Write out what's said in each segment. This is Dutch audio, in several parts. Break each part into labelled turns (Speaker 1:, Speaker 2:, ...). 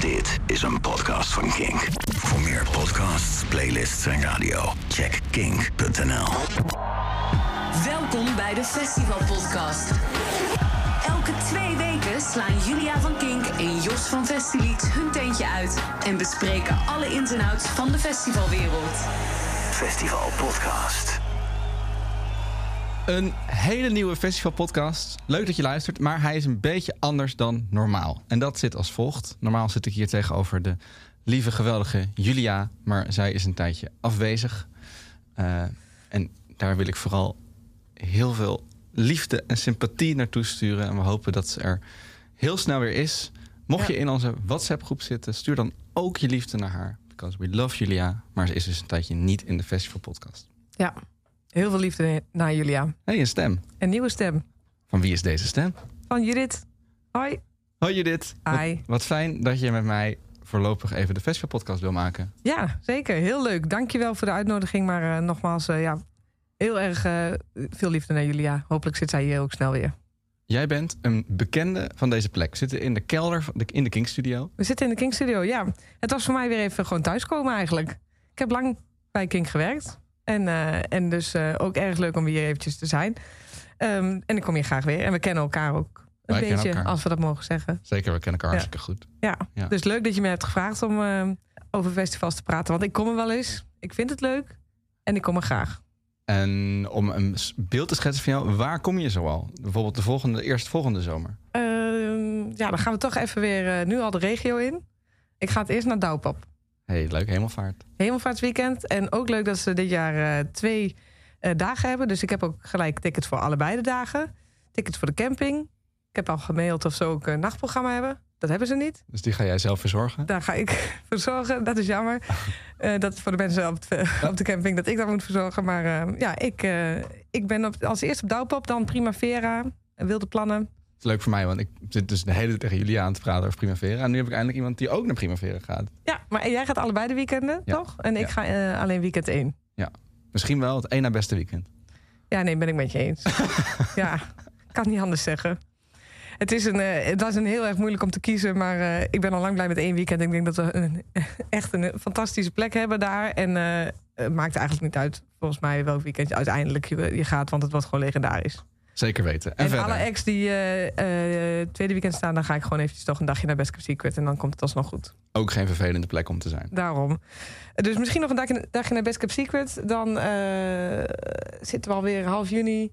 Speaker 1: Dit is een podcast van Kink. Voor meer podcasts, playlists en radio, check kink.nl.
Speaker 2: Welkom bij de Festival Podcast. Elke twee weken slaan Julia van Kink en Jos van Festilied hun tentje uit en bespreken alle ins en outs van de festivalwereld.
Speaker 1: Festival Podcast.
Speaker 3: Een hele nieuwe festivalpodcast. Leuk dat je luistert, maar hij is een beetje anders dan normaal. En dat zit als volgt. Normaal zit ik hier tegenover de lieve, geweldige Julia, maar zij is een tijdje afwezig. Eh, en daar wil ik vooral heel veel liefde en sympathie naartoe sturen. En we hopen dat ze er heel snel weer is. Mocht je in onze WhatsApp-groep zitten, stuur dan ook je liefde naar haar. Because we love Julia, maar ze is dus een tijdje niet in de festivalpodcast.
Speaker 4: Ja, heel veel liefde naar Julia.
Speaker 3: Hé, hey, een stem.
Speaker 4: Een nieuwe stem
Speaker 3: Van wie is deze stem?
Speaker 4: van Judith. Hoi.
Speaker 3: Hoi Judith.
Speaker 4: Hi.
Speaker 3: Wat, wat fijn dat je met mij voorlopig even de festivalpodcast wil maken.
Speaker 4: Ja, zeker. Heel leuk. Dankjewel voor de uitnodiging. Maar eh, nogmaals, eh, ja, heel erg eh, veel liefde naar Julia. Hopelijk zit zij hier ook snel weer.
Speaker 3: Jij bent een bekende van deze plek. We zitten in de kelder van de, in de King Studio.
Speaker 4: We zitten in de King Studio. Ja, het was voor mij weer even gewoon thuiskomen eigenlijk. Ik heb lang bij King gewerkt. En, eh, en dus eh, ook erg leuk om hier eventjes te zijn. Ehm, en ik kom hier graag weer. En we kennen elkaar ook een
Speaker 3: Wij kennen
Speaker 4: beetje,
Speaker 3: elkaar.
Speaker 4: als we dat mogen zeggen.
Speaker 3: Zeker, we kennen elkaar
Speaker 4: Ja.
Speaker 3: hartstikke goed.
Speaker 4: Ja.
Speaker 3: Ja.
Speaker 4: dus leuk dat je me hebt gevraagd om eh, over festivals te praten. Want ik kom er wel eens. Ik vind het leuk. En ik kom er graag.
Speaker 3: En om een s- beeld te schetsen van jou, waar kom je zoal? Bijvoorbeeld de volgende, de eerstvolgende zomer.
Speaker 4: Ehm, ja, dan gaan we toch even weer eh, nu al de regio in. Ik ga het eerst naar Douwpap.
Speaker 3: hey, leuk, hemelvaart.
Speaker 4: Hemelvaartsweekend. En ook leuk dat ze dit jaar eh, twee eh, dagen hebben. Dus ik heb ook gelijk tickets voor allebei de dagen. Tickets voor de camping. Ik heb al gemaild of ze ook een nachtprogramma hebben. Dat hebben ze niet.
Speaker 3: Dus die ga jij zelf verzorgen?
Speaker 4: Daar ga ik voor zorgen. Dat is jammer. Eh, dat is voor de mensen op, het- op de camping dat ik dat moet verzorgen. Maar eh, ja, ik, eh, ik ben op, als eerste op Douwpop, dan Primavera, eh, Wilde Plannen.
Speaker 3: Dat is leuk voor mij, want ik zit dus de hele tijd tegen jullie aan te praten over Primavera. En nu heb ik eindelijk iemand die ook naar Primavera gaat.
Speaker 4: Ja, maar jij gaat allebei de weekenden,
Speaker 3: Ja.
Speaker 4: toch? En ik
Speaker 3: Ja.
Speaker 4: ga eh, alleen weekend één.
Speaker 3: Misschien wel het één na beste weekend.
Speaker 4: Ja, nee, ben ik met je eens. ja, kan niet anders zeggen. Het, is een, eh, het was een heel erg moeilijk om te kiezen, maar eh, ik ben al lang blij met één weekend. Ik denk dat we een, echt een fantastische plek hebben daar. En eh, het maakt eigenlijk niet uit, volgens mij, welk weekend je uiteindelijk je, je gaat, want het wordt gewoon legendarisch.
Speaker 3: Zeker weten. En,
Speaker 4: En,
Speaker 3: verder.
Speaker 4: alle ex die eh, eh, tweede weekend staan, dan ga ik gewoon eventjes toch een dagje naar Best Kept Secret en dan komt het alsnog goed.
Speaker 3: Ook geen vervelende plek om te zijn.
Speaker 4: Daarom. Dus misschien nog een dagje, dagje naar Best Kept Secret. Dan eh, zitten we alweer half juni.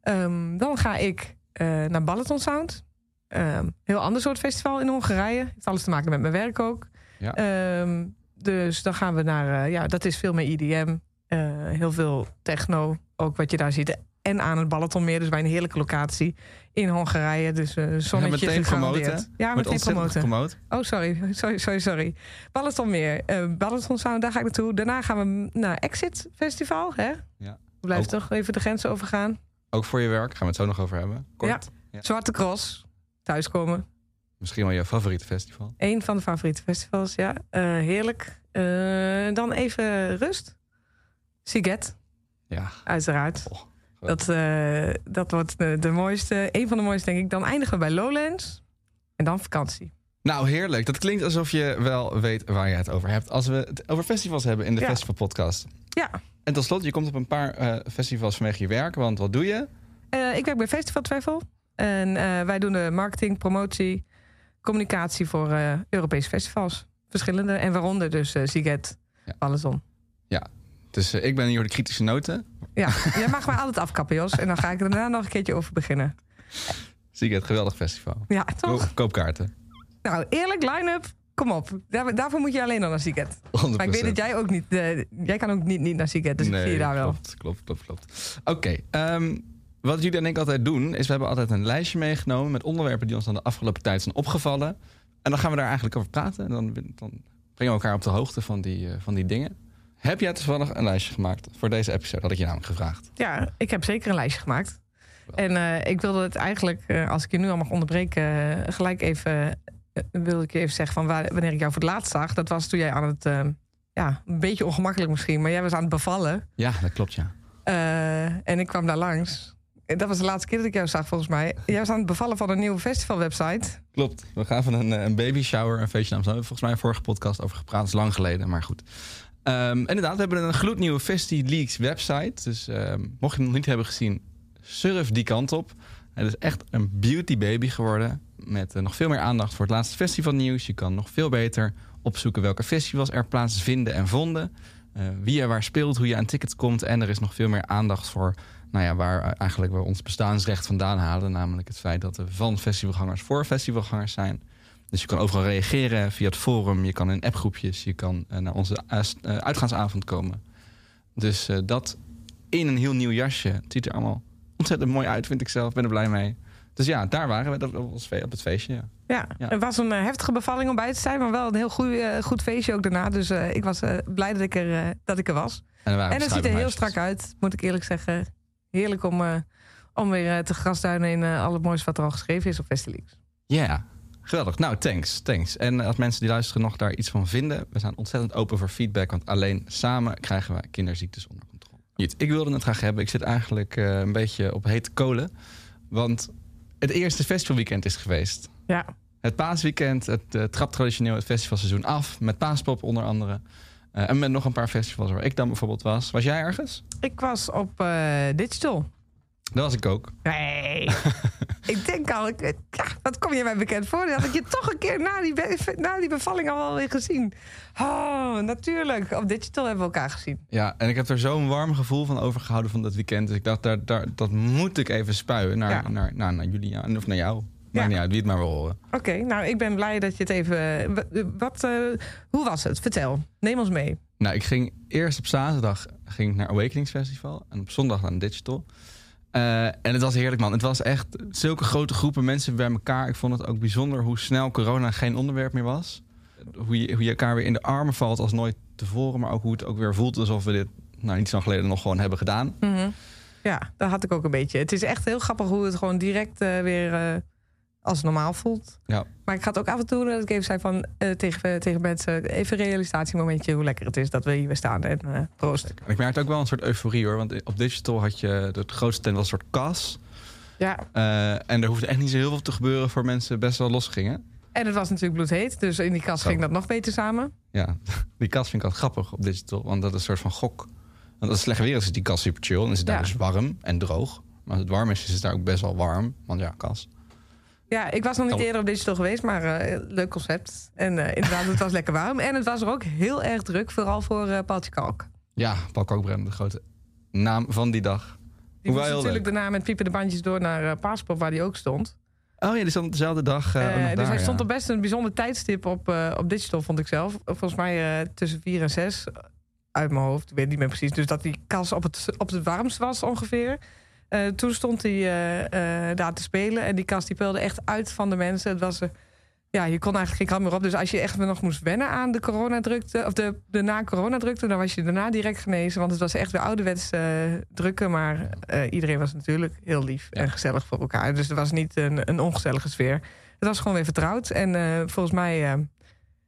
Speaker 4: Ehm, dan ga ik eh, naar Balaton Sound. Ehm, heel ander soort festival in Hongarije. Heeft alles te maken met mijn werk ook.
Speaker 3: Ja.
Speaker 4: Ehm, dus dan gaan we naar... eh, ja, dat is veel meer IDM. Eh, heel veel techno, ook wat je daar ziet. En aan het Balatonmeer, dus bij een heerlijke locatie in Hongarije. Dus eh zonnetje
Speaker 3: meteen
Speaker 4: gegarandeerd.
Speaker 3: promoten.
Speaker 4: Ja,
Speaker 3: Wordt
Speaker 4: meteen
Speaker 3: ontzettend
Speaker 4: promoten.
Speaker 3: gepromoot.
Speaker 4: Oh, sorry, sorry, sorry. sorry. Balletonmeer, eh Balaton Sound, daar ga ik naartoe. Daarna gaan we naar Exit Festival, hè?
Speaker 3: Ja.
Speaker 4: We blijven
Speaker 3: Ook.
Speaker 4: toch even de grens overgaan.
Speaker 3: Ook voor je werk, gaan we het zo nog over hebben. Kort. Ja.
Speaker 4: Zwarte Cross, thuiskomen.
Speaker 3: Misschien wel je favoriete festival.
Speaker 4: Eén van de favoriete festivals, ja. Eh, heerlijk. Eh, dan even rust. Siget,
Speaker 3: Ja,
Speaker 4: uiteraard.
Speaker 3: Oh,
Speaker 4: dat, eh, dat wordt de, de mooiste, een van de mooiste, denk ik. Dan eindigen we bij Lowlands. En dan vakantie.
Speaker 3: Nou, heerlijk. Dat klinkt alsof je wel weet waar je het over hebt. Als we het over festivals hebben in de
Speaker 4: Ja.
Speaker 3: festivalpodcast.
Speaker 4: Ja.
Speaker 3: En tot slot, je komt op een paar eh, festivals vanwege je werk. Want wat doe je?
Speaker 4: Eh, ik werk bij Festival Travel. En eh, wij doen de marketing, promotie, communicatie voor eh, Europese festivals. Verschillende. En waaronder dus eh Siget,
Speaker 3: Ja.
Speaker 4: Balaton.
Speaker 3: Dus eh, ik ben hier de kritische noten.
Speaker 4: Ja, jij mag mij altijd afkappen, Jos. En dan ga ik er daarna nog een keertje over beginnen.
Speaker 3: Zie ik het geweldig festival.
Speaker 4: Ja, toch?
Speaker 3: Koop- koopkaarten. 100%.
Speaker 4: Nou, eerlijk, line-up. Kom op. Daar- daarvoor moet je alleen al naar Siget. Maar ik weet dat jij ook niet... eh, jij kan ook niet, niet naar Siget, dus ik zie je daar wel.
Speaker 3: Klopt, klopt, klopt. klopt. Oké, ehm, wat jullie en ik altijd doen, is we hebben altijd een lijstje meegenomen met onderwerpen die ons dan de afgelopen tijd zijn opgevallen. En dan gaan we daar eigenlijk over praten. En dan, dan brengen we elkaar op de hoogte van die, eh, van die dingen. Heb jij toevallig een lijstje gemaakt voor deze episode? Had ik je namelijk gevraagd.
Speaker 4: Ja, ik heb zeker een lijstje gemaakt.
Speaker 3: Wel.
Speaker 4: En eh, ik wilde het eigenlijk, eh, als ik je nu al mag onderbreken, eh, gelijk even, eh, wil ik je even zeggen van waar, wanneer ik jou voor het laatst zag. Dat was toen jij aan het, eh, ja, een beetje ongemakkelijk misschien, maar jij was aan het bevallen.
Speaker 3: Ja, dat klopt, ja.
Speaker 4: Eh, en ik kwam daar langs. dat was de laatste keer dat ik jou zag volgens mij. Jij was aan het bevallen van een nieuwe festivalwebsite.
Speaker 3: Klopt. We gaven een, eh, een baby shower, een feestje naam. Daar hebben we volgens mij een vorige podcast over gepraat. Dat is lang geleden, maar goed. Ehm, inderdaad, we hebben een gloednieuwe Festi Leaks website. Dus ehm, mocht je hem nog niet hebben gezien, surf die kant op. Het is echt een beauty baby geworden. Met eh, nog veel meer aandacht voor het laatste festivalnieuws. Je kan nog veel beter opzoeken welke festivals er plaatsvinden en vonden. Eh, wie er waar speelt, hoe je aan tickets komt. En er is nog veel meer aandacht voor nou ja, waar eh, eigenlijk we ons bestaansrecht vandaan halen. Namelijk het feit dat we van festivalgangers voor festivalgangers zijn. Dus je kan overal reageren via het forum. Je kan in appgroepjes. Je kan eh, naar onze eh, s- eh, uitgaansavond komen. Dus eh, dat in een heel nieuw jasje. Het ziet er allemaal ontzettend mooi uit, vind ik zelf. Ik ben er blij mee. Dus ja, daar waren we. Dat was fe- op het feestje, ja.
Speaker 4: Ja,
Speaker 3: Ja.
Speaker 4: het was een eh, heftige bevalling om bij te zijn, maar wel een heel goed, goed feestje ook daarna. Dus eh, ik was eh, blij dat ik, er, eh, dat ik er was.
Speaker 3: En, er waren
Speaker 4: en het ziet er heel strak uit, moet ik eerlijk zeggen. Heerlijk om, eh, om weer eh, te grasduinen in eh, al het moois wat er al geschreven is op Festileaks.
Speaker 3: Ja, geweldig. Nou, thanks, thanks. En eh, als mensen die luisteren nog daar iets van vinden... we zijn ontzettend open voor feedback... want alleen samen krijgen we kinderziektes onder controle. Goed, ik wilde het graag hebben. Ik zit eigenlijk eh, een beetje op hete kolen. Want het eerste festivalweekend is geweest.
Speaker 4: Ja,
Speaker 3: Het paasweekend, het eh, trapt traditioneel het festivalseizoen af... met Paaspop onder andere. Eh, en met nog een paar festivals waar ik dan bijvoorbeeld was. Was jij ergens?
Speaker 4: ik was op eh, Digital.
Speaker 3: Dat was ik ook.
Speaker 4: Nee. ik denk al, ik, eh, ja, wat kom je mij bekend voor? Dat had ik je toch een keer na die, be- na die bevalling al wel weer gezien. Oh, natuurlijk. Op Digital hebben we elkaar gezien.
Speaker 3: Ja, en ik heb er zo'n warm gevoel van overgehouden van dat weekend. Dus ik dacht, daar, daar, dat moet ik even spuien naar,
Speaker 4: Ja.
Speaker 3: naar, nou, naar, naar jullie ja, of naar jou. Maar
Speaker 4: Ja.
Speaker 3: ja, wie het maar wil horen.
Speaker 4: Oké, nou, ik ben blij dat je het even... eh, wa- Wat, eh, hoe was het? Vertel. Neem ons mee.
Speaker 3: Nou, ik ging eerst op zaterdag ging ik naar Awakenings Festival en op zondag naar Digital. Eh, en het was heerlijk, man. Het was echt zulke grote groepen mensen bij elkaar. Ik vond het ook bijzonder hoe snel corona geen onderwerp meer was. Hoe je, hoe je elkaar weer in de armen valt als nooit tevoren. Maar ook hoe het ook weer voelt alsof we dit nou, niet zo lang geleden nog gewoon hebben gedaan.
Speaker 4: Mm. Ja, dat had ik ook een beetje. Het is echt heel grappig hoe het gewoon direct eh, weer eh, als normaal voelt.
Speaker 3: Ja,
Speaker 4: Maar ik ga het ook af en toe, dat ik even zei van, eh, tegen, tegen mensen... even een realisatiemomentje hoe lekker het is dat we hier weer staan. En eh, proost.
Speaker 3: En ik merkte ook wel een soort euforie hoor. Want op digital had je het grootste tent was een soort kas.
Speaker 4: Ja,
Speaker 3: Eh, en er hoefde echt niet zo heel veel te gebeuren voor mensen best wel losgingen.
Speaker 4: En het was natuurlijk bloedheet, dus in die kast
Speaker 3: Zo.
Speaker 4: ging dat nog beter samen.
Speaker 3: Ja, die kas vind ik altijd grappig op digital. Want dat is een soort van gok. Want als het slecht weer is, is die kas super chill. En is het daar
Speaker 4: Ja.
Speaker 3: dus warm en droog. Maar als het warm is, is het daar ook best wel warm. Want ja, kas.
Speaker 4: Ja, ik was nog niet
Speaker 3: Oh.
Speaker 4: eerder op digital geweest, maar eh, leuk concept. En eh, inderdaad, het was lekker warm. En het was er ook heel erg druk, vooral voor eh Paaltje Kalk.
Speaker 3: Ja, Paul Kookbrem, de grote naam van die dag.
Speaker 4: Die
Speaker 3: Hoewel
Speaker 4: moest
Speaker 3: heel
Speaker 4: natuurlijk daarna met piepende bandjes door naar eh Paaspop, waar die ook stond.
Speaker 3: Oh ja, die stond op dezelfde dag. eh,
Speaker 4: Eh,
Speaker 3: ook nog
Speaker 4: dus
Speaker 3: daar,
Speaker 4: hij
Speaker 3: ja.
Speaker 4: stond op best een bijzonder tijdstip op, eh, op digital, vond ik zelf. Volgens mij eh, tussen vier en zes, eh, uit mijn hoofd, ik weet niet meer precies. Dus dat die kas op het, op het warmst was ongeveer. Eh, toen stond hij eh, eh, daar te spelen en die kas die peilde echt uit van de mensen. Het was, eh, ja, je kon eigenlijk geen kant meer op. Dus als je echt nog moest wennen aan de coronadrukte, of de, de na-coronadrukte, dan was je daarna direct genezen. Want het was echt weer ouderwets eh, drukken, maar eh, iedereen was natuurlijk heel lief en gezellig voor elkaar. Dus er was niet een, een ongezellige sfeer. Het was gewoon weer vertrouwd. En eh, volgens mij, eh,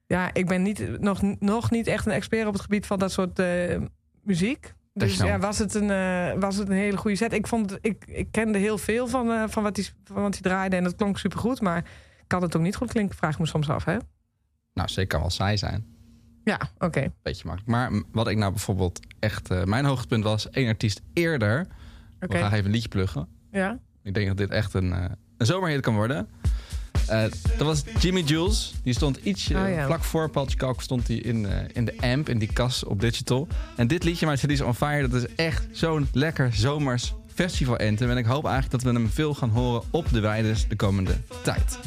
Speaker 4: ja, ik ben niet, nog, nog niet echt een expert op het gebied van dat soort eh, muziek. Dus
Speaker 3: Techno.
Speaker 4: ja, was het, een, eh, was het een hele goede set. Ik, vond, ik, ik kende heel veel van, eh, van, wat die, van wat die draaide en dat klonk supergoed. Maar kan het ook niet goed klinken, vraag ik me soms af, hè?
Speaker 3: Nou, zeker kan wel saai zijn.
Speaker 4: Ja, oké.
Speaker 3: Beetje makkelijk. Maar m- wat ik nou bijvoorbeeld echt... eh, mijn hoogtepunt was één artiest eerder. Ik
Speaker 4: Oké.
Speaker 3: wil graag even een liedje pluggen.
Speaker 4: Ja.
Speaker 3: Ik denk dat dit echt een, eh, een zomerhit kan worden. Eh, dat was Jimmy Jules. Die stond ietsje
Speaker 4: Oh ja.
Speaker 3: vlak voor Paltje Kalk stond hij in, eh, in de amp, in die kas op digital. En dit liedje, My City's on Fire, dat is echt zo'n lekker zomers festival anthem. En ik hoop eigenlijk dat we hem veel gaan horen op de weides de komende tijd.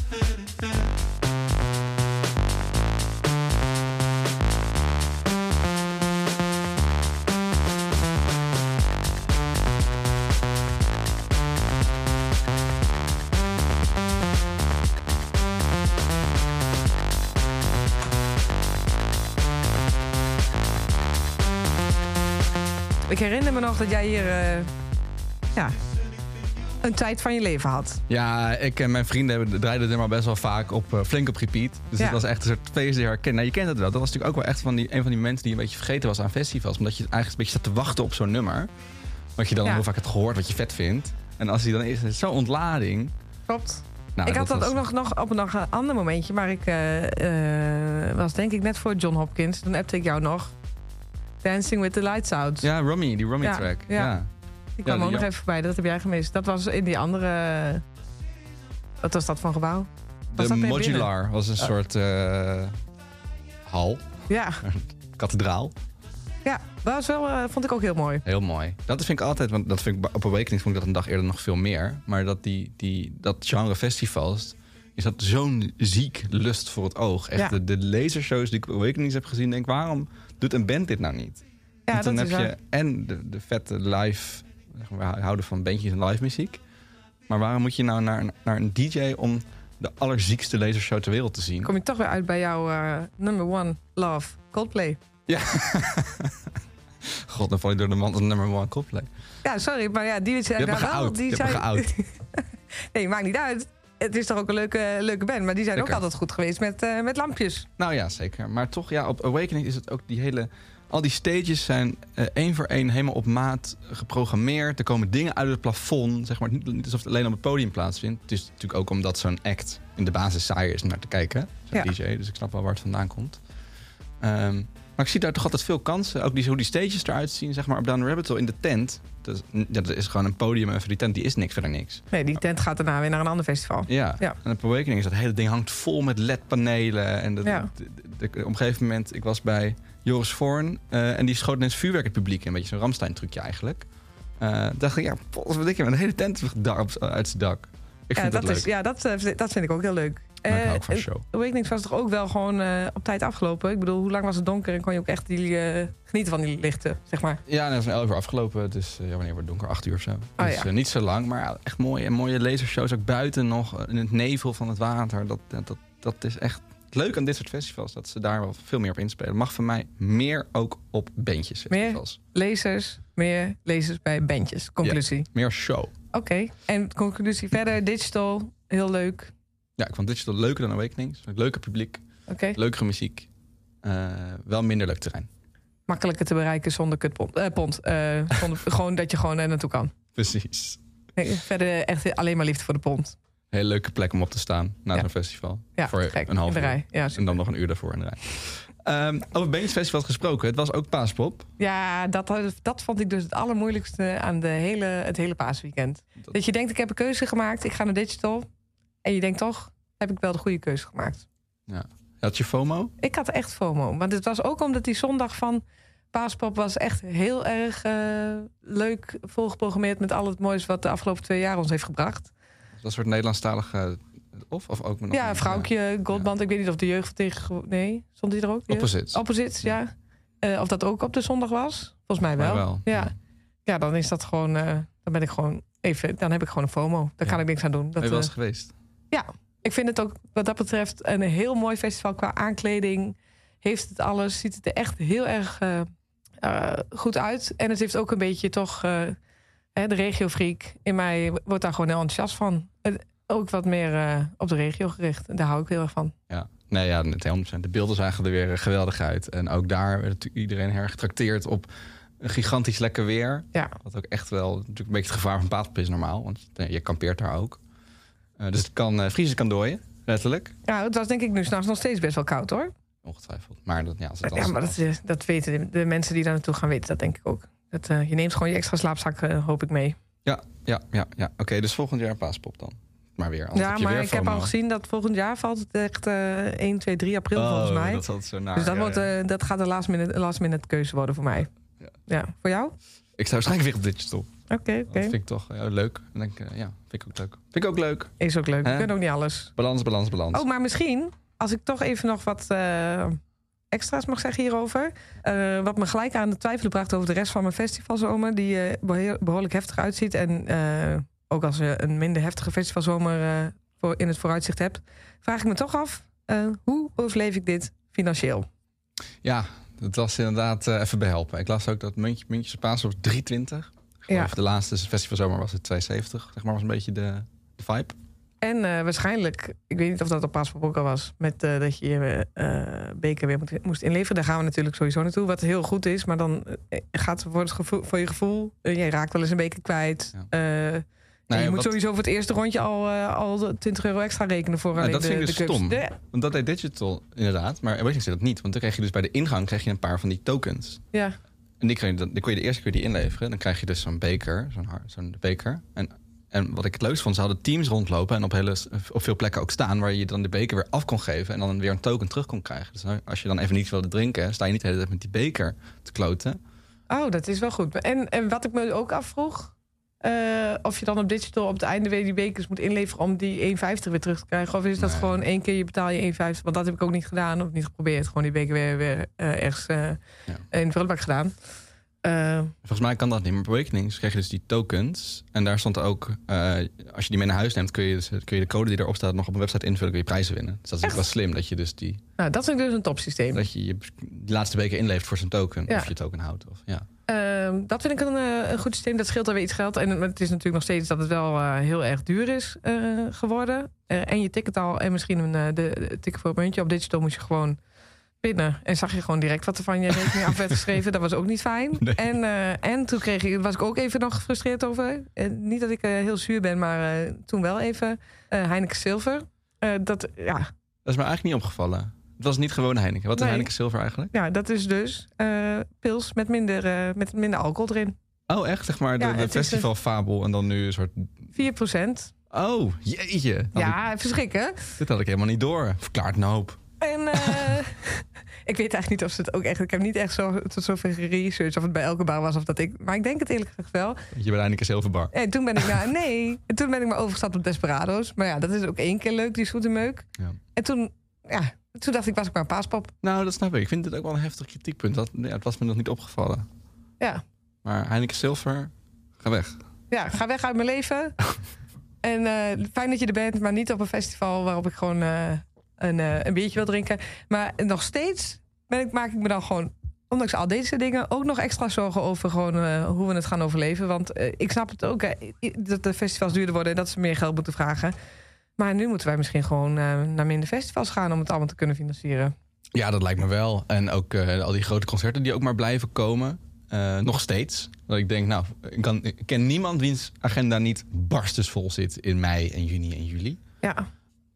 Speaker 4: Ik herinner me nog dat jij hier, eh, ja, een tijd van je leven had.
Speaker 3: Ja, ik en mijn vrienden hebben, draaiden er maar best wel vaak op, eh, flink op repeat. Dus
Speaker 4: Ja.
Speaker 3: het was echt een soort feest die je herkent. Nou, je kent het wel. Dat was natuurlijk ook wel echt van die, een van die momenten die een beetje vergeten was aan festivals. Omdat je eigenlijk een beetje zat te wachten op zo'n nummer. Wat je dan
Speaker 4: Ja.
Speaker 3: heel vaak hebt gehoord, wat je vet vindt. En als hij dan is, is zo'n ontlading.
Speaker 4: Klopt.
Speaker 3: Nou,
Speaker 4: ik had dat,
Speaker 3: was-
Speaker 4: ook nog, nog op een, nog een ander momentje, maar ik eh, eh, was denk ik net voor John Hopkins. Toen appte ik jou nog. Dancing with the Lights Out.
Speaker 3: Ja, Rummy, die Rummy
Speaker 4: Ja,
Speaker 3: track.
Speaker 4: ja.
Speaker 3: Ja.
Speaker 4: die kwam
Speaker 3: ja,
Speaker 4: ook
Speaker 3: die-
Speaker 4: nog even voorbij, dat heb jij gemist. Dat was in die andere... Wat was dat voor een gebouw? Was
Speaker 3: De
Speaker 4: dat weer Oh.
Speaker 3: modular was een soort eh, hal,
Speaker 4: Ja,
Speaker 3: kathedraal.
Speaker 4: ja dat was wel, eh, vond ik ook heel mooi.
Speaker 3: Heel mooi. Dat vind ik altijd, want dat vind ik bij- op Awakenings vond ik dat een dag eerder nog veel meer. Maar dat, die, die, dat genre festivals, is dat zo'n ziek lust voor het oog. Echt
Speaker 4: Ja.
Speaker 3: de, de lasershows die ik op Awakenings heb gezien, denk ik, waarom doet een band dit nou niet?
Speaker 4: Ja,
Speaker 3: Want dan
Speaker 4: dat
Speaker 3: heb
Speaker 4: is
Speaker 3: je
Speaker 4: waar.
Speaker 3: en de, de vette live, zeg maar, we houden van bandjes en live muziek. Maar waarom moet je nou naar, een- naar een DJ om de allerziekste lasershow ter wereld te zien?
Speaker 4: kom je toch weer uit bij jouw eh, number one love, Coldplay.
Speaker 3: God, dan val je door de man als nummer one Coldplay.
Speaker 4: Ja, sorry, maar ja, die zijn
Speaker 3: Je hebt me
Speaker 4: daar wel.
Speaker 3: geout.
Speaker 4: Die
Speaker 3: Je hebt me
Speaker 4: zijn-
Speaker 3: geout.
Speaker 4: nee, maakt niet uit. Het is toch ook een leuke, leuke band, maar die zijn ook
Speaker 3: Zeker.
Speaker 4: altijd goed geweest met, eh, met lampjes.
Speaker 3: Nou ja, zeker. Maar toch, ja, op Awakening is het ook die hele... Al die stages zijn eh, één voor één helemaal op maat geprogrammeerd. Er komen dingen uit het plafond. Zeg maar, niet, niet alsof het alleen op het podium plaatsvindt. Het is natuurlijk ook omdat zo'n act in de basis saai is om naar te kijken. Zo'n
Speaker 4: Ja.
Speaker 3: DJ, dus ik snap wel waar het vandaan komt. Ehm, maar ik zie daar toch altijd veel kansen. Ook die, hoe die stages eruit zien, zeg maar, op Down the Rabbit Hole in de tent. Dat is, ja, dat is gewoon een podium en voor die tent die is niks, verder niks.
Speaker 4: Nee, die tent gaat daarna weer naar een ander festival.
Speaker 3: Ja.
Speaker 4: Ja.
Speaker 3: En op Awakening is dat hele ding hangt vol met LED-panelen. En dat,
Speaker 4: Ja.
Speaker 3: d- d- d- op een gegeven moment, ik was bij Joris Voorn. eh, en die schoot net vuurwerk het publiek in. Een beetje zo'n Ramstein-trucje eigenlijk. Eh dacht ik, ja, potverdikke, maar de hele tent is daar op- uit zijn dak. Ik
Speaker 4: ja,
Speaker 3: vind dat, leuk.
Speaker 4: is, ja dat, eh, dat vind ik ook heel leuk.
Speaker 3: Maar ik
Speaker 4: Eh,
Speaker 3: hou ook van
Speaker 4: en
Speaker 3: show.
Speaker 4: Awakenings was toch ook wel gewoon eh, op tijd afgelopen? Ik bedoel, hoe lang was het donker en kon je ook echt die, eh, genieten van die lichten, zeg maar.
Speaker 3: Ja, en dat is een 11 uur afgelopen. Dus ja, wanneer wordt het donker? 8 uur of zo. dus
Speaker 4: Oh, ja.
Speaker 3: eh, niet zo lang, maar ja, echt mooie, mooie lasershows. Ook buiten nog, eh, in het nevel van het water. Dat, dat, dat, dat is echt leuk aan dit soort festivals. Dat ze daar wel veel meer op inspelen. Mag van mij meer ook op bandjes festivals.
Speaker 4: Lezers, meer lezers bij bandjes. Conclusie.
Speaker 3: Meer, show.
Speaker 4: Oké, en conclusie verder, digital, heel leuk.
Speaker 3: Ja, ik vond Digital leuker dan Awakenings. Vond ik Leuker publiek,
Speaker 4: Oké,
Speaker 3: leukere muziek. Eh, wel minder leuk terrein.
Speaker 4: makkelijker te bereiken zonder kutpont. Eh, pond. Eh, zonder- gewoon dat je gewoon er naartoe kan.
Speaker 3: Precies.
Speaker 4: Nee, verder echt alleen maar liefde voor de pond.
Speaker 3: Hele leuke plek om op te staan na
Speaker 4: Ja.
Speaker 3: zo'n festival.
Speaker 4: Ja,
Speaker 3: voor
Speaker 4: gek.
Speaker 3: een half
Speaker 4: in de
Speaker 3: uur.
Speaker 4: rij. Ja, super.
Speaker 3: En dan nog een uur daarvoor in de rij. Ehm over Beensfestival gesproken. Het was ook paaspop.
Speaker 4: Ja, dat, dat vond ik dus het allermoeilijkste aan de hele, het hele paasweekend. Dat... je denkt, ik heb een keuze gemaakt, ik ga naar digital. En je denkt toch, heb ik wel de goede keuze gemaakt.
Speaker 3: Had je FOMO?
Speaker 4: Ik had echt FOMO. Want het was ook omdat die zondag van Paaspop was echt heel erg eh, leuk volgeprogrammeerd... met al het moois wat de afgelopen twee jaar ons heeft gebracht.
Speaker 3: Dat soort Nederlandstalige... Of, of ook... nog
Speaker 4: ja,
Speaker 3: een-
Speaker 4: Vrouwkje, Goldband, ik weet niet of de jeugd tegen... Nee, stond die er ook?
Speaker 3: Ja. eh, Opposites.
Speaker 4: Opposites, ja. Eh, of dat ook op de zondag was? Volgens mij wel.
Speaker 3: Maar wel,
Speaker 4: Ja.
Speaker 3: ja.
Speaker 4: ja, dan is dat gewoon. eh, dan ben ik gewoon even. Dan heb ik gewoon een FOMO. Daar
Speaker 3: Ja.
Speaker 4: kan ik niks aan doen. Dat,
Speaker 3: Ben je wel
Speaker 4: eh,
Speaker 3: eens geweest?
Speaker 4: ik vind het ook wat dat betreft een heel mooi festival qua aankleding. Heeft het alles. Ziet het er echt heel erg eh, eh, goed uit. En het heeft ook een beetje toch. eh, hè, de regiofreak in mij wordt daar gewoon heel enthousiast van. En ook wat meer eh, op de regio gericht. En Daar hou ik heel erg van.
Speaker 3: Ja. Nee, ja, net 100%. De beelden zagen er weer eh, geweldig uit. En ook daar werd natuurlijk iedereen erg getrakteerd op een gigantisch lekker weer.
Speaker 4: Ja.
Speaker 3: Wat ook echt wel natuurlijk een beetje het gevaar van paapop is normaal. Want eh, je kampeert daar ook. Eh, dus het kan eh, vriezen, kan dooien. Letterlijk.
Speaker 4: Nou, het was denk ik nu s'nachts nog steeds best wel koud hoor.
Speaker 3: Ongetwijfeld. Maar dat, ja, als het
Speaker 4: Ja,
Speaker 3: als-
Speaker 4: maar dat, is- dat weten de, de mensen die daar naartoe gaan weten, dat denk ik ook. Dat, eh, je neemt gewoon je extra slaapzak, eh, hoop ik mee.
Speaker 3: ja, ja, ja, ja. Oké, dus volgend jaar paaspop dan. Maar weer. anders
Speaker 4: ja,
Speaker 3: je
Speaker 4: maar
Speaker 3: weer eh,
Speaker 4: ik heb
Speaker 3: FOMO.
Speaker 4: al gezien dat volgend jaar valt het echt eh 1, 2, 3 april
Speaker 3: Oh,
Speaker 4: volgens mij.
Speaker 3: Dat is altijd zo naar.
Speaker 4: dus dat,
Speaker 3: Ja,
Speaker 4: wordt,
Speaker 3: ja.
Speaker 4: eh, dat gaat een last minute, last minute keuze worden voor mij. Ja,
Speaker 3: Ja.
Speaker 4: voor jou?
Speaker 3: Ik zou waarschijnlijk weer op digital.
Speaker 4: Oké, oké.
Speaker 3: Dat vind ik toch eh, leuk. En denk, eh, ja, vind ik ook leuk. Vind ik ook leuk.
Speaker 4: Is ook leuk. We
Speaker 3: Hè?
Speaker 4: kunnen ook niet alles.
Speaker 3: Balans, balans, balans.
Speaker 4: Oh, maar misschien, als ik toch even nog wat eh, extra's mag zeggen hierover. Eh, wat me gelijk aan het twijfelen bracht over de rest van mijn festivalzomer. Die eh, behe- behoorlijk heftig uitziet. En eh, ook als je een minder heftige festivalzomer eh, voor in het vooruitzicht hebt. Vraag ik me toch af, eh, hoe overleef ik dit financieel?
Speaker 3: Ja, dat was inderdaad eh, even behelpen. Ik las ook dat muntje, muntjes op Paas was 320.
Speaker 4: Ja.
Speaker 3: Of de laatste dus het festivalzomer was het 270. Zeg maar was een beetje de, de vibe.
Speaker 4: En eh, waarschijnlijk, ik weet niet of dat op Paaspop ook al was... met eh, dat je je eh, beker weer moet- moest inleveren. Daar gaan we natuurlijk sowieso naartoe, wat heel goed is. Maar dan eh, gaat het voor, het gevoel, voor je gevoel... eh, je raakt wel eens een beker kwijt. Eh,
Speaker 3: Nou ja,
Speaker 4: je moet
Speaker 3: wat-
Speaker 4: sowieso voor het eerste rondje al, eh, al de 20 euro extra rekenen voor
Speaker 3: Nou,
Speaker 4: alleen
Speaker 3: dat
Speaker 4: de,
Speaker 3: vind ik
Speaker 4: de
Speaker 3: dus
Speaker 4: cups.
Speaker 3: stom.
Speaker 4: De-
Speaker 3: Want dat deed Digital inderdaad, maar Waiting deed dat niet. Want dan kreeg je dus bij de ingang kreeg je een paar van die tokens.
Speaker 4: ja.
Speaker 3: En die, kreeg, je dan dan kon je de eerste keer die inleveren. Dan krijg je dus zo'n beker, zo'n har- zo'n beker. En, en wat ik het leukst vond, ze hadden teams rondlopen... en op, hele, s- op veel plekken ook staan... waar je dan de beker weer af kon geven... en dan weer een token terug kon krijgen. Dus nou, als je dan even niet wilde drinken... sta je niet de hele tijd met die beker te kloten.
Speaker 4: Oh, dat is wel goed. En, en wat ik me ook afvroeg, eh, of je dan op digital op het einde weer die bekers moet inleveren om die 1,50 weer terug te krijgen. Of is dat
Speaker 3: Nee.
Speaker 4: gewoon één keer je betaal je 1,50? Want dat heb ik ook niet gedaan of niet geprobeerd. Gewoon die beker weer, weer eh, ergens eh, in de prullenbak gedaan. Eh,
Speaker 3: Volgens mij kan dat niet, maar bij Awakenings kreeg je dus die tokens. En daar stond ook, eh, als je die mee naar huis neemt... Kun je, dus- kun je de code die erop staat nog op een website invullen... kun je prijzen winnen. Dus dat is
Speaker 4: Echt?
Speaker 3: wel slim dat je dus die,
Speaker 4: nou, dat vind ik dus een topsysteem.
Speaker 3: dat je, je die laatste beker inlevert voor zo'n token.
Speaker 4: Ja.
Speaker 3: Of je token houdt. Of, ja.
Speaker 4: Ehm, dat vind ik een, eh, een goed systeem. Dat scheelt alweer iets geld. En het is natuurlijk nog steeds dat het wel eh, heel erg duur is eh, geworden. Eh, en je ticket al en misschien een, eh, de, de ticket voor een muntje. Op digital moest je gewoon pinnen. En zag je gewoon direct wat er van je rekening af werd geschreven. Dat was ook niet fijn.
Speaker 3: Nee.
Speaker 4: En, eh, en toen kreeg ik, was ik ook even nog gefrustreerd over. Eh, niet dat ik eh, heel zuur ben, maar eh, toen wel even. eh Heineken Silver. Eh, dat, ja,
Speaker 3: Dat is me eigenlijk niet opgevallen. Het was niet gewoon Heineken. Wat is
Speaker 4: Nee.
Speaker 3: Heineken Silver eigenlijk?
Speaker 4: ja, dat is dus eh, pils met minder, eh, met minder alcohol erin.
Speaker 3: Oh, echt? Zeg maar de,
Speaker 4: Ja,
Speaker 3: de
Speaker 4: het is eh, een-
Speaker 3: festivalfabel en dan nu een soort...
Speaker 4: 4 procent.
Speaker 3: Oh, jeetje. Had ik-
Speaker 4: Ja, verschrikken.
Speaker 3: dit had ik helemaal niet door. Verklaart een hoop.
Speaker 4: En eh, ik weet eigenlijk niet of ze het ook echt. Ik heb niet echt zo, tot zover geresearched of het bij elke baan was of dat ik. Maar ik denk het eerlijk gezegd wel.
Speaker 3: Je bent Heineken Silverbar.
Speaker 4: En toen ben ik naar. Nee, en toen ben ik maar overgestapt op Desperados. Maar ja, dat is ook één keer leuk, die zoete meuk.
Speaker 3: Ja.
Speaker 4: En toen, ja, toen dacht ik, was ik maar een paaspop.
Speaker 3: Nou, dat snap ik. Ik vind dit ook wel een heftig kritiekpunt. Dat, ja, het was me nog niet opgevallen.
Speaker 4: Ja,
Speaker 3: Maar Heineken Silver, ga weg.
Speaker 4: ja ga weg uit mijn leven. en eh, fijn dat je er bent, maar niet op een festival waarop ik gewoon eh, een, eh, een biertje wil drinken. Maar nog steeds ben ik, maak ik me dan gewoon, ondanks al deze dingen, ook nog extra zorgen over gewoon, eh, hoe we het gaan overleven. Want eh, ik snap het ook, hè, i- dat de festivals duurder worden en dat ze meer geld moeten vragen. Maar nu moeten wij misschien gewoon eh, naar minder festivals gaan om het allemaal te kunnen financieren.
Speaker 3: Ja, dat lijkt me wel. En ook eh, al die grote concerten die ook maar blijven komen. eh, nog steeds. Dat ik denk, nou, ik, kan, ik ken niemand wiens agenda niet barstensvol zit in mei en juni en juli.
Speaker 4: Ja,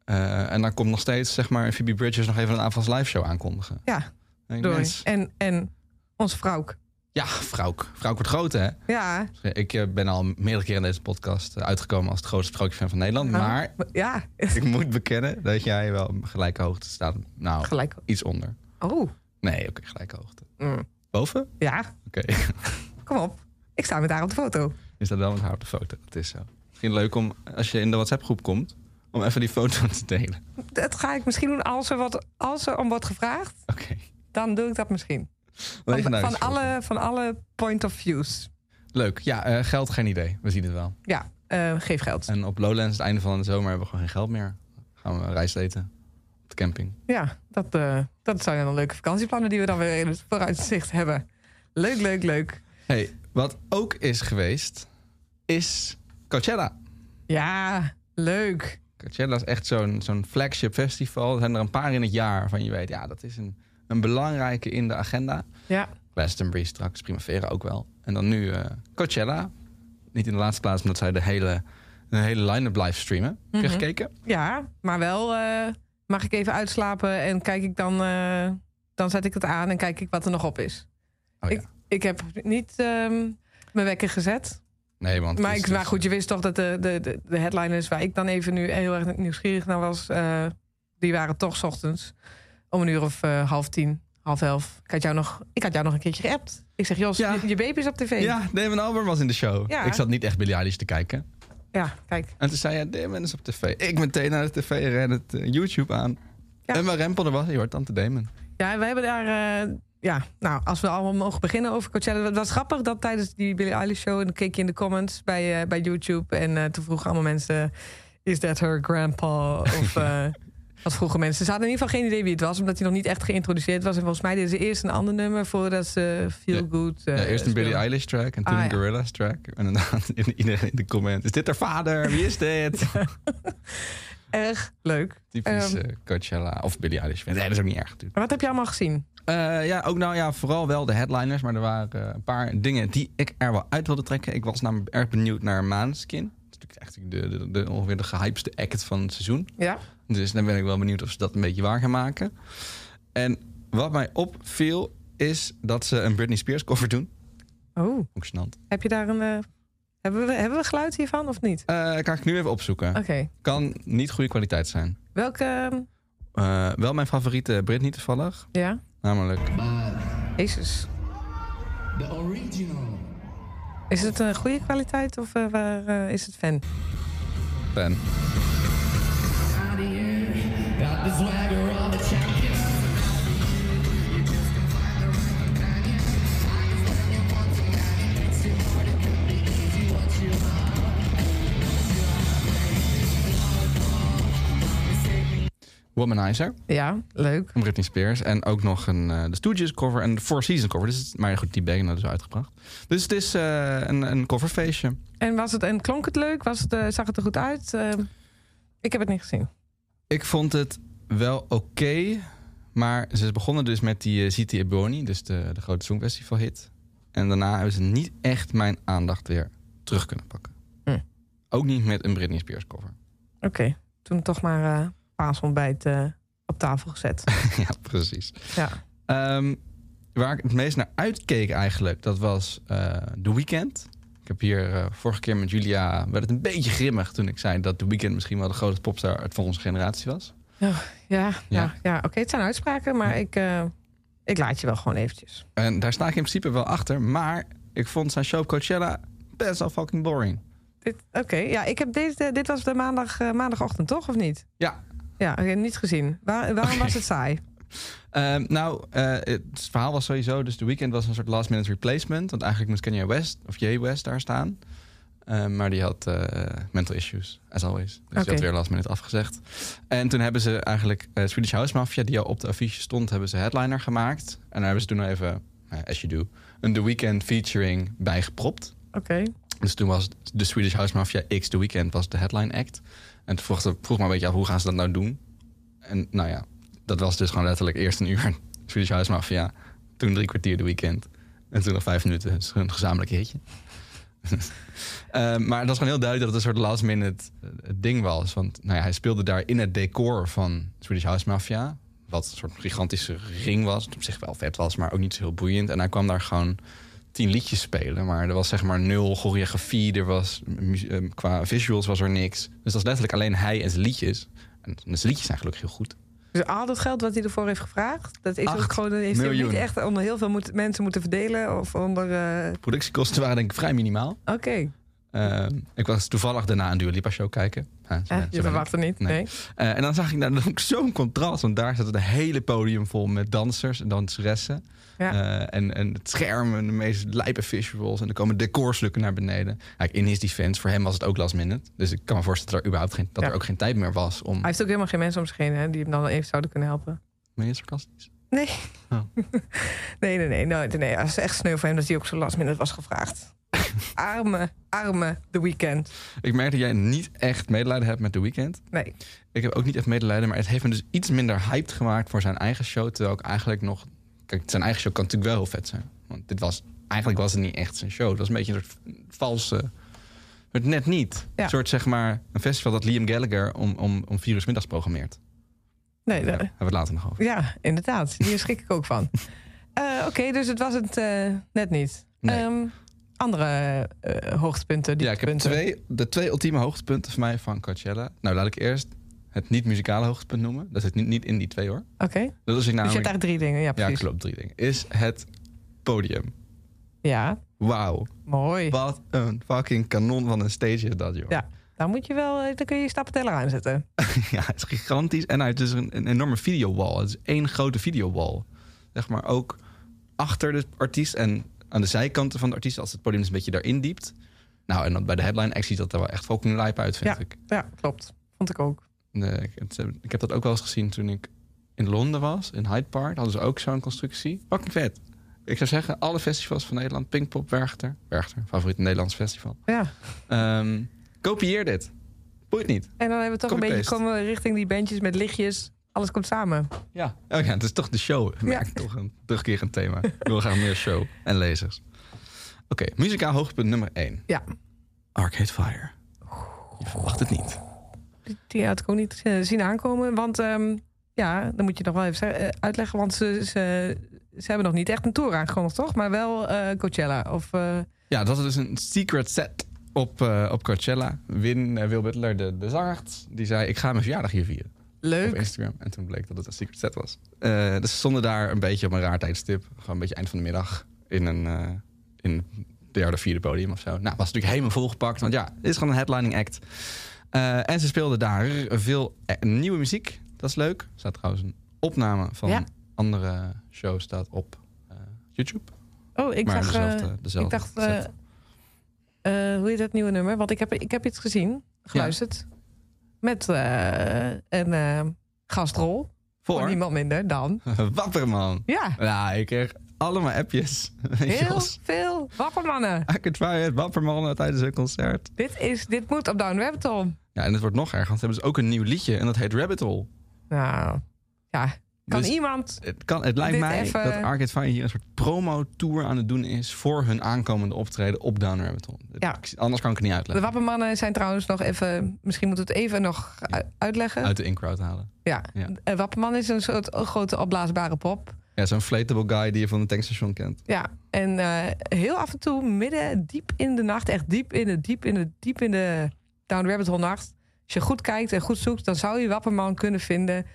Speaker 3: Eh, en dan komt nog steeds, zeg maar, Phoebe Bridgers nog even een avonds live show aankondigen.
Speaker 4: ja,
Speaker 3: En ik,
Speaker 4: doei.
Speaker 3: mens,
Speaker 4: En, en onze vrouw.
Speaker 3: ja, Vrouwk. Vrouwk wordt groot, hè?
Speaker 4: Ja,
Speaker 3: Ik eh, ben al meerdere keren in deze podcast eh, uitgekomen als het grootste sprookjefan van Nederland. Maar
Speaker 4: ja,
Speaker 3: ik moet bekennen dat jij wel op gelijke hoogte staat. Nou,
Speaker 4: gelijk.
Speaker 3: iets onder.
Speaker 4: Oh,
Speaker 3: Nee, oké, gelijke hoogte.
Speaker 4: Mm.
Speaker 3: Boven?
Speaker 4: ja.
Speaker 3: Oké.
Speaker 4: Kom op, ik sta met haar op de foto.
Speaker 3: Is dat wel met haar op de foto? Dat is zo. Misschien leuk om, als je in de WhatsApp-groep komt, om even die foto te delen.
Speaker 4: Dat ga ik misschien doen als er, wat, als er om wordt gevraagd.
Speaker 3: Oké.
Speaker 4: Dan doe ik dat misschien. Van,
Speaker 3: Legendarische
Speaker 4: van,
Speaker 3: foto.
Speaker 4: alle, van alle point of views.
Speaker 3: Leuk. Ja, eh, geld geen idee. We zien het wel.
Speaker 4: Ja, eh, geef geld.
Speaker 3: En op Lowlands, het einde van de zomer, hebben we gewoon geen geld meer. Gaan we rijst eten. Op de camping.
Speaker 4: Ja, dat, eh, dat zijn dan leuke vakantieplannen die we dan weer in het vooruitzicht hebben. Leuk, leuk, leuk.
Speaker 3: hey, wat ook is geweest, is Coachella.
Speaker 4: Ja, leuk.
Speaker 3: Coachella is echt zo'n zo'n flagship festival. Er zijn er een paar in het jaar van je weet, ja, dat is een, een belangrijke in de agenda.
Speaker 4: Ja,
Speaker 3: Glastonbury straks, Primavera ook wel. En dan nu eh, Coachella. Niet in de laatste plaats, omdat zij de hele, de hele line-up live streamen. Heb je
Speaker 4: Mhm.
Speaker 3: gekeken?
Speaker 4: ja maar wel eh, mag ik even uitslapen en kijk ik dan, eh, dan zet ik het aan en kijk ik wat er nog op is.
Speaker 3: Oh, ja.
Speaker 4: ik, ik heb niet ehm, mijn wekker gezet.
Speaker 3: Nee, want het
Speaker 4: Maar,
Speaker 3: is
Speaker 4: ik,
Speaker 3: dus-
Speaker 4: maar goed, je wist toch dat de, de, de, de headliners waar ik dan even nu heel erg nieuwsgierig naar was, eh, die waren toch 's ochtends om een uur of eh, half tien, half elf. Ik had jou nog, ik had jou nog een keertje geappt. Ik zeg, Jos,
Speaker 3: Ja.
Speaker 4: je, je baby is op tv.
Speaker 3: Ja, Damon Albarn was in de show.
Speaker 4: Ja.
Speaker 3: Ik zat niet echt Billie Eilish te kijken.
Speaker 4: Ja, kijk.
Speaker 3: En toen zei hij, Damon is op tv. Ik meteen naar de tv ren het eh, YouTube aan.
Speaker 4: Ja.
Speaker 3: En waar Rempel er was, je hoort Tante Damon.
Speaker 4: Ja, wij hebben daar... eh, ja, nou, als we allemaal mogen beginnen over Coachella. Het was grappig dat tijdens die Billie Eilish show... en dan keek je in de comments bij, eh, bij YouTube... en eh, toen vroegen allemaal mensen... is that her grandpa? Of eh, wat vroegen mensen. Ze hadden in ieder geval geen idee wie het was... omdat hij nog niet echt geïntroduceerd was. En volgens mij deden ze eerst een ander nummer... voordat ze Feel
Speaker 3: Ja.
Speaker 4: Good eh,
Speaker 3: ja, eerst een Billie
Speaker 4: speelden.
Speaker 3: Eilish track en toen
Speaker 4: Ah,
Speaker 3: een
Speaker 4: ja.
Speaker 3: Gorillaz track. En inderdaad, in- iedereen in de comment. Is dit haar vader? Wie is dit?
Speaker 4: Erg leuk.
Speaker 3: Typisch
Speaker 4: Ehm.
Speaker 3: eh, Coachella of Billie Eilish. Nee, dat is ook niet erg natuurlijk.
Speaker 4: Maar wat heb je allemaal gezien?
Speaker 3: Eh, ja, ook nou ja, vooral wel de headliners. Maar er waren eh, een paar dingen die ik er wel uit wilde trekken. Ik was namelijk erg benieuwd naar Maanskin. Dat is natuurlijk natuurlijk echt de, de, de, ongeveer de gehypste act van het seizoen.
Speaker 4: Ja,
Speaker 3: Dus dan ben ik wel benieuwd of ze dat een beetje waar gaan maken. En wat mij opviel is dat ze een Britney Spears cover doen.
Speaker 4: oh,
Speaker 3: Ook gênant.
Speaker 4: heb je daar een... eh, hebben, we, hebben we geluid hiervan of niet?
Speaker 3: Eh, kan ik nu even opzoeken.
Speaker 4: Oké,
Speaker 3: Kan niet goede kwaliteit zijn.
Speaker 4: welke... ehm,
Speaker 3: Eh, wel mijn favoriete Britney toevallig.
Speaker 4: ja,
Speaker 3: Namelijk,
Speaker 4: Jezus.
Speaker 5: The original.
Speaker 4: Is het een goede kwaliteit of eh, waar, eh, is het fan?
Speaker 3: Ben.
Speaker 5: Got the swagger of the champion.
Speaker 3: Womanizer
Speaker 4: Ja, leuk.
Speaker 3: van Britney Spears. En ook nog een eh, de Stooges cover en de Four Seasons cover. Dus, het- maar goed, die ben ik dus uitgebracht. Dus het is eh, een, een coverfeestje.
Speaker 4: En, was het, en klonk het leuk? Was het, eh, zag het er goed uit? Ehm, ik heb het niet gezien.
Speaker 3: Ik vond het wel oké. maar ze begonnen dus met die eh, Ziti Ebony, dus de, de grote Songfestival-hit. En daarna hebben ze niet echt mijn aandacht weer terug kunnen pakken.
Speaker 4: Hm.
Speaker 3: Ook niet met een Britney Spears cover.
Speaker 4: Oké, toen toch maar eh paasontbijt eh, op tafel gezet.
Speaker 3: ja, precies.
Speaker 4: ja.
Speaker 3: Ehm, waar ik het meest naar uitkeek eigenlijk, dat was eh The Weeknd. Ik heb hier eh, vorige keer met Julia, werd het een beetje grimmig toen ik zei dat The Weeknd misschien wel de grote popstar uit van onze generatie was.
Speaker 4: Ja, ja.
Speaker 3: Ja.
Speaker 4: ja, oké, het zijn uitspraken, maar ik, eh, ik laat je wel gewoon eventjes.
Speaker 3: En daar sta ik in principe wel achter, maar ik vond zijn show op Coachella best wel fucking boring.
Speaker 4: Dit- Oké, ja, ik heb deze, dit was de maandag, eh, maandagochtend, toch? Of niet?
Speaker 3: Ja,
Speaker 4: Ja, oké, niet gezien. Waar- waarom was het saai?
Speaker 3: ehm, nou, eh, het verhaal was sowieso, dus The Weeknd was een soort last minute replacement, want eigenlijk moest Kanye West of Jay West daar staan. Eh, maar die had eh, mental issues, as always. Dus die
Speaker 4: Oké.
Speaker 3: had weer last minute afgezegd. En toen hebben ze eigenlijk eh, Swedish House Mafia, die al op de affiche stond, hebben ze headliner gemaakt. En daar hebben ze toen even, eh, as you do, een The Weeknd featuring bijgepropt.
Speaker 4: Oké,
Speaker 3: Dus toen was de Swedish House Mafia X The Weeknd was de headline act. En toen vroeg, vroeg maar een beetje af, hoe gaan ze dat nou doen? En nou ja, dat was dus gewoon letterlijk eerst een uur Swedish House Mafia. Toen drie kwartier The Weeknd. En toen nog vijf minuten dus een gezamenlijk hitje. Eh, maar het was gewoon heel duidelijk dat het een soort last minute eh, ding was. Want nou ja, hij speelde daar in het decor van Swedish House Mafia. Wat een soort gigantische ring was. Het op zich wel vet was, maar ook niet zo heel boeiend. En hij kwam daar gewoon tien liedjes spelen. Maar er was zeg maar nul choreografie. Er was, mu- eh, qua visuals was er niks. Dus dat was letterlijk alleen hij en zijn liedjes. En zijn liedjes zijn gelukkig heel goed.
Speaker 4: dus al dat geld wat hij ervoor heeft gevraagd, dat is ook
Speaker 3: Acht
Speaker 4: gewoon, heeft hij ook niet
Speaker 3: miljoen.
Speaker 4: echt onder heel veel moet- mensen moeten verdelen. Of onder. eh,
Speaker 3: Productiekosten waren denk ik vrij minimaal.
Speaker 4: Oké,
Speaker 3: Eh, ik was toevallig daarna een Dua Lipa show kijken. Huh, zo ben-
Speaker 4: Eh,
Speaker 3: zo
Speaker 4: je
Speaker 3: ben ik.
Speaker 4: verwacht het niet.
Speaker 3: Nee.
Speaker 4: Nee.
Speaker 3: Eh, en dan zag ik daar dan ook zo'n contrast. Want daar zat het hele podium vol met dansers en danseressen.
Speaker 4: Ja.
Speaker 3: Eh, en, en het scherm en de meest lijpe visuals. En er komen decorstukken naar beneden. Kijk, in his defense, voor hem was het ook last minute. Dus ik kan me voorstellen dat er überhaupt geen, dat
Speaker 4: Ja.
Speaker 3: er ook geen tijd meer was om...
Speaker 4: Hij heeft ook helemaal geen mensen om zich heen hè, die hem dan even zouden kunnen helpen.
Speaker 3: Ben je sarcastisch?
Speaker 4: Nee.
Speaker 3: Oh.
Speaker 4: nee, nee, nee, nee, nee. Het is echt sneu voor hem dat hij ook zo last minute was gevraagd. arme, arme The Weeknd.
Speaker 3: Ik merk dat jij niet echt medelijden hebt met The Weeknd.
Speaker 4: Nee.
Speaker 3: Ik heb ook niet echt medelijden, maar het heeft me dus iets minder hyped gemaakt voor zijn eigen show. Terwijl ik eigenlijk nog... Kijk, zijn eigen show kan natuurlijk wel heel vet zijn. Want dit was... Eigenlijk was het niet echt zijn show. Het was een beetje een soort valse... Het net niet.
Speaker 4: Ja.
Speaker 3: Een soort, zeg maar, een festival dat Liam Gallagher om, om, om vier uur 's middags programmeert.
Speaker 4: Nee,
Speaker 3: Daar
Speaker 4: nee.
Speaker 3: hebben we het later nog over.
Speaker 4: Ja, inderdaad. Hier schrik ik ook van. Eh, Oké, dus het was het eh, net niet.
Speaker 3: Nee.
Speaker 4: Ehm, andere eh, hoogtepunten,
Speaker 3: Ja, ik heb
Speaker 4: dieptepunten.
Speaker 3: twee, de twee ultieme hoogtepunten van mij van Coachella. Nou, laat ik eerst het niet-muzikale hoogtepunt noemen. Dat zit niet, niet in die twee, hoor. Dat
Speaker 4: Oké,
Speaker 3: is ik
Speaker 4: dus je
Speaker 3: namelijk...
Speaker 4: hebt eigenlijk drie dingen. Ja,
Speaker 3: Ja,
Speaker 4: precies.
Speaker 3: klopt, drie dingen. Is het podium.
Speaker 4: Ja,
Speaker 3: Wauw,
Speaker 4: mooi.
Speaker 3: wat een fucking kanon van een stage is dat, joh.
Speaker 4: Ja. Dan moet je wel, eh, dan kun je je stappenteller aanzetten.
Speaker 3: Ja, het is gigantisch. En het is dus een, een enorme videowall. Het is één grote videowall. Zeg maar ook achter de artiest en aan de zijkanten van de artiest... als het podium dus een beetje daarin diept. Nou, en dan bij de headline act ziet dat er wel echt fucking lijp uit, vind
Speaker 4: Ja.
Speaker 3: ik.
Speaker 4: Ja, klopt. Vond ik ook.
Speaker 3: Nee, ik, het- eh, ik heb dat ook wel eens gezien toen ik in Londen was, in Hyde Park. Hadden ze ook zo'n constructie. Fucking vet. Ik zou zeggen, alle festivals van Nederland. Pinkpop, Werchter. Werchter, favoriet Nederlands festival.
Speaker 4: Ja.
Speaker 3: Ehm, kopieer dit. Boeit niet.
Speaker 4: En dan hebben we toch een beetje
Speaker 3: Copy-paste.
Speaker 4: komen we richting die bandjes met lichtjes. Alles komt samen.
Speaker 3: Ja. Oh ja, het is toch de show. Ik Merk toch een terugkerend thema. Ik wil graag meer show en lezers. Oké, muzikaal hoogtepunt nummer 1.
Speaker 4: Ja.
Speaker 3: Arcade Fire. Je verwacht het niet.
Speaker 4: Die had ik ook niet eh, zien aankomen. Want ehm, ja, dan moet je nog wel even ze- eh, uitleggen. Want ze, ze, ze hebben nog niet echt een tour aangekondigd, toch? Maar wel eh, Coachella. Of, eh,
Speaker 3: Ja, dat is dus een secret set op, eh, op Coachella. Win eh, Wil Butler, de, de zangarts, die zei... ik ga mijn verjaardag hier vieren op
Speaker 4: Leuk.
Speaker 3: Instagram. En toen bleek dat het een secret set was. Eh, dus ze stonden daar een beetje op een raar tijdstip. Gewoon een beetje eind van de middag in een... eh, in het derde, vierde podium of zo. Nou, was natuurlijk helemaal volgepakt. Want ja, dit is gewoon een headlining act. Eh, en ze speelden daar veel eh, nieuwe muziek. Dat is leuk. Er staat trouwens een opname van
Speaker 4: Ja.
Speaker 3: andere shows staat op eh, YouTube.
Speaker 4: Oh, ik
Speaker 3: maar
Speaker 4: zag... eh,
Speaker 3: dezelfde, dezelfde
Speaker 4: ik dacht, eh,
Speaker 3: set.
Speaker 4: eh, hoe heet dat nieuwe nummer? Want ik heb, ik heb iets gezien, geluisterd. Met eh, een eh, gastrol. Voor
Speaker 3: Voor?
Speaker 4: niemand minder dan.
Speaker 3: Wapperman.
Speaker 4: Ja,
Speaker 3: Ja, ik kreeg allemaal appjes.
Speaker 4: heel
Speaker 3: Jos,
Speaker 4: veel wappermannen.
Speaker 3: I could try it, Wapperman uh, tijdens een concert.
Speaker 4: Dit, is, dit moet op Down Rabbit Hole.
Speaker 3: Ja, en het wordt nog erger, want ze hebben dus ook een nieuw liedje en dat heet Rabbit Hole.
Speaker 4: Nou, ja. Kan
Speaker 3: Dus-
Speaker 4: iemand...
Speaker 3: Het, kan, het lijkt
Speaker 4: Dit
Speaker 3: mij
Speaker 4: even-
Speaker 3: dat Arcade Fire hier een soort promo-tour aan het doen is voor hun aankomende optreden op Down Rabbit Hole.
Speaker 4: Ja.
Speaker 3: Ik- Anders kan ik het niet
Speaker 4: De
Speaker 3: uitleggen.
Speaker 4: wappermannen zijn trouwens nog even... Misschien moeten we het even nog u- uitleggen.
Speaker 3: Uit de in-crowd halen.
Speaker 4: ja.
Speaker 3: ja.
Speaker 4: Eh, Wapperman is een soort grote opblaasbare pop.
Speaker 3: Ja, zo'n inflatable guy die je van het tankstation kent.
Speaker 4: Ja, en eh, heel af en toe, midden, diep in de nacht, echt diep in de, diep in de, diep in de Down Rabbit Hole nacht. Als je goed kijkt en goed zoekt, dan zou je Wapperman kunnen vinden.